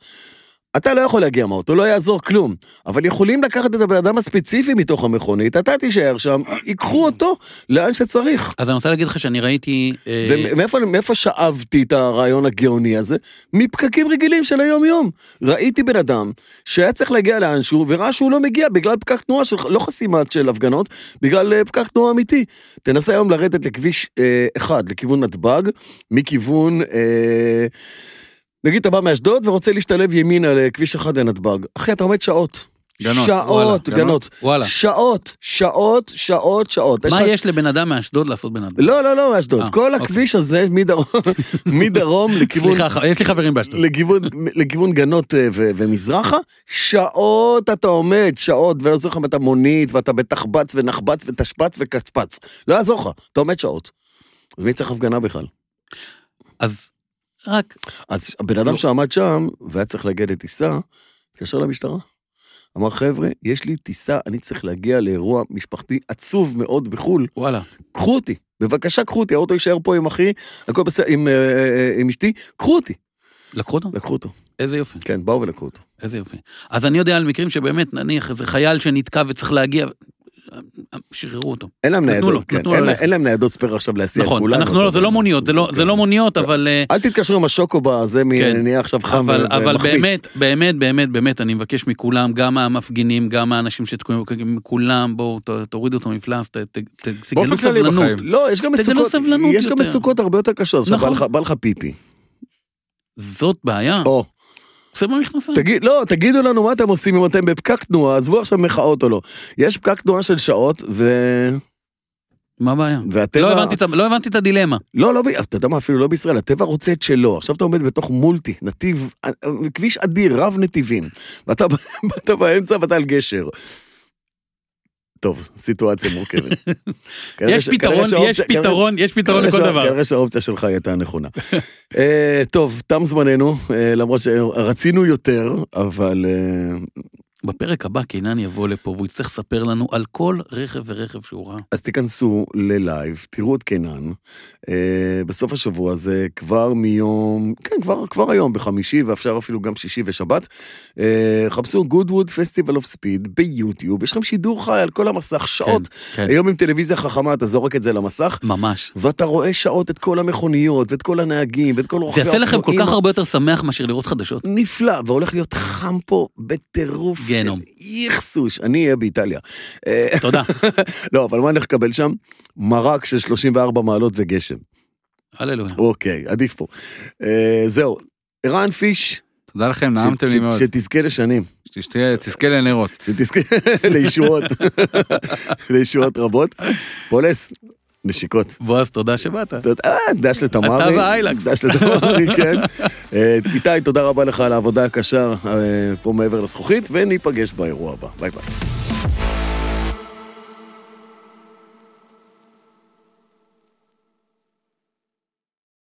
[SPEAKER 1] אתה לא יכול להגיע מהאוטו, לא יעזור כלום, אבל יכולים לקחת את הבן אדם הספציפי מתוך המכונית, אתה תישאר שם, ייקחו אותו לאן שצריך.
[SPEAKER 2] אז אני רוצה להגיד לך שאני ראיתי... אה,
[SPEAKER 1] ומאיפה מאיפה שאבתי את הרעיון הגאוני הזה? מפקקים רגילים של היום-יום. ראיתי בן אדם שהיה צריך להגיע לאנשהו, וראה שהוא לא מגיע בגלל פקק תנועה של, לא חסימת של הפגנות, בגלל אה, פקק תנועה אמיתי. תנסה היום לרדת לכביש אה, אחד, לכיוון נתב"ג, מכיוון... אה, נגיד אתה בא מאשדוד ורוצה להשתלב ימינה לכביש אחד לנתב"ג. אחי, אתה עומד שעות.
[SPEAKER 3] גנות,
[SPEAKER 1] שעות,
[SPEAKER 3] וואלה,
[SPEAKER 1] גנות, גנות.
[SPEAKER 2] וואלה.
[SPEAKER 1] שעות, שעות, שעות, שעות.
[SPEAKER 2] מה
[SPEAKER 1] לך-
[SPEAKER 2] יש לבן אדם מאשדוד לעשות בן אדם?
[SPEAKER 1] לא, לא, לא, מאשדוד.
[SPEAKER 2] אה,
[SPEAKER 1] כל
[SPEAKER 2] אוקיי.
[SPEAKER 1] הכביש הזה
[SPEAKER 2] [LAUGHS]
[SPEAKER 1] מדרום- מדרום לכיוון...
[SPEAKER 2] סליחה, ח- יש לי חברים באשדוד.
[SPEAKER 1] לכיוון, לכיוון גנות אה, ו- ומזרחה, שעות אתה עומד, שעות, ולא יעזור לך אם אתה מונית, ואתה בתחבץ ונחבץ ותשפץ וקצפץ. לא יעזור לך, אתה עומד שעות. אז מי צריך הפגנה בכלל?
[SPEAKER 2] אז רק,
[SPEAKER 1] אז הבן אדם
[SPEAKER 2] לא.
[SPEAKER 1] שעמד שם, והיה צריך להגיע לטיסה, התקשר למשטרה. אמר, חבר'ה, יש לי טיסה, אני צריך להגיע לאירוע משפחתי עצוב מאוד בחו"ל,
[SPEAKER 2] וואלה.
[SPEAKER 1] קחו אותי, בבקשה קחו אותי, האוטו יישאר פה עם אחי, הכל בסדר, עם, אה, אה, עם אשתי, קחו אותי.
[SPEAKER 2] לקחו אותו?
[SPEAKER 1] לקחו אותו,
[SPEAKER 2] איזה יופי,
[SPEAKER 1] כן, באו ולקחו אותו.
[SPEAKER 2] איזה יופי. אז אני יודע על מקרים שבאמת, נניח, איזה חייל שנתקע וצריך להגיע, שחררו אותו.
[SPEAKER 1] אין להם
[SPEAKER 2] נתנו לו,
[SPEAKER 1] ניידות, כן,
[SPEAKER 2] נתנו לו
[SPEAKER 1] אין לה-
[SPEAKER 2] ללכת.
[SPEAKER 1] אין להם ניידות ספייר עכשיו להסיע את
[SPEAKER 2] נכון,
[SPEAKER 1] כולנו. כן.
[SPEAKER 2] אנחנו לא,
[SPEAKER 1] אתה
[SPEAKER 2] זה
[SPEAKER 1] יודע.
[SPEAKER 2] לא מוניות, זה לא- זה לא מוניות, אבל... אה,
[SPEAKER 1] אל תתקשרו עם השוקובה, זה מ-
[SPEAKER 2] כן.
[SPEAKER 1] נהיה עכשיו חם
[SPEAKER 2] אבל,
[SPEAKER 1] ו-
[SPEAKER 2] אבל
[SPEAKER 1] ומחמיץ.
[SPEAKER 2] באמת, באמת, באמת, באמת, אני מבקש מכולם, גם מהמפגינים, גם מהאנשים שתקועים, כולם, בואו, ת- תורידו את המפלס, ת- ת- ת- תגלו
[SPEAKER 3] באופן כללי
[SPEAKER 2] סבלנות.
[SPEAKER 3] בחיים.
[SPEAKER 1] לא, יש גם
[SPEAKER 2] תגלו
[SPEAKER 1] מצוקות,
[SPEAKER 2] סבלנות
[SPEAKER 1] יש גם
[SPEAKER 2] יותר.
[SPEAKER 1] מצוקות הרבה יותר קשות. עכשיו בא
[SPEAKER 2] נכון. אה.
[SPEAKER 1] לך- בא לך פיפי.
[SPEAKER 2] זאת בעיה.
[SPEAKER 1] או,
[SPEAKER 2] זה במכנסיים.
[SPEAKER 1] תגיד, לא, תגידו לנו מה אתם עושים אם אתם בפקק תנועה, עזבו עכשיו מחאות או לא. יש פקק תנועה של שעות, ו-
[SPEAKER 2] מה הבעיה?
[SPEAKER 1] והטבע...
[SPEAKER 2] לא הבנתי את ה- לא הבנתי את הדילמה.
[SPEAKER 1] לא, לא, ב- אתה יודע מה, אפילו לא בישראל, הטבע רוצה את שלו. עכשיו אתה עומד בתוך מולטי, נתיב, אה, אה, כביש אדיר, רב נתיבים. ואתה ב- [LAUGHS] ואתה באמצע ואתה על גשר. טוב, סיטואציה
[SPEAKER 2] [LAUGHS]
[SPEAKER 1] מורכבת. כנראה ש-
[SPEAKER 2] יש
[SPEAKER 1] כנראה
[SPEAKER 2] פתרון,
[SPEAKER 1] שהאופציה-
[SPEAKER 2] יש
[SPEAKER 1] כנראה-
[SPEAKER 2] פתרון, יש פתרון
[SPEAKER 1] כנראה
[SPEAKER 2] לכל
[SPEAKER 1] שה-
[SPEAKER 2] דבר.
[SPEAKER 1] כנראה שהאופציה שלך הייתה
[SPEAKER 2] [LAUGHS]
[SPEAKER 1] נכונה. אה, טוב, תם זמננו, אה, למרות שרצינו יותר, אבל... אה,
[SPEAKER 2] בפרק הבא קינן יבוא לפה והוא יצטרך לספר לנו על כל רכב ורכב שהוא ראה.
[SPEAKER 1] אז תיכנסו ללייב, תראו את קינן. אה, בסוף השבוע הזה, כבר מיום, כן, כבר, כבר היום, בחמישי, ואפשר אפילו גם שישי ושבת. אה, חפשו Goodwood Festival of Speed ביוטיוב, יש לכם שידור חי על כל המסך, שעות.
[SPEAKER 2] כן,
[SPEAKER 1] היום עם טלוויזיה חכמה, אתה זורק את זה למסך.
[SPEAKER 2] ממש.
[SPEAKER 1] ואתה רואה שעות את כל המכוניות, ואת כל הנהגים, ואת כל רוכבי
[SPEAKER 2] זה יעשה לכם כל
[SPEAKER 1] האופנועים
[SPEAKER 2] כך הרבה יותר שמח מאשר לראות חדשות.
[SPEAKER 1] נפלא, והולך להיות חם פה בטירוף
[SPEAKER 2] גהנום.
[SPEAKER 1] של איכסוש. אני אהיה באיטליה. אה,
[SPEAKER 2] תודה.
[SPEAKER 1] [LAUGHS] לא, אבל מה אני הולך לקבל שם? מרק של 34 מעלות וגשם.
[SPEAKER 2] הללויה.
[SPEAKER 1] אוקיי, עדיף פה. אה, זהו, ערן פיש,
[SPEAKER 3] תודה לכם,
[SPEAKER 1] ש-
[SPEAKER 3] נעמתם
[SPEAKER 1] ש-
[SPEAKER 3] לי מאוד.
[SPEAKER 1] שתזכה לשנים,
[SPEAKER 3] שתהיה- תזכה לנרות.
[SPEAKER 1] שתזכה [LAUGHS]
[SPEAKER 3] [LAUGHS]
[SPEAKER 1] לישועות, לישועות רבות. פולס, נשיקות.
[SPEAKER 2] בועז, תודה שבאת.
[SPEAKER 1] אתה יודע, אה, דש לתמרי.
[SPEAKER 2] אתה והאיילקס.
[SPEAKER 1] דש לתמרי, כן. אה, איתי, תודה רבה לך על העבודה הקשה אה, פה מעבר לזכוכית, וניפגש באירוע הבא. ביי ביי.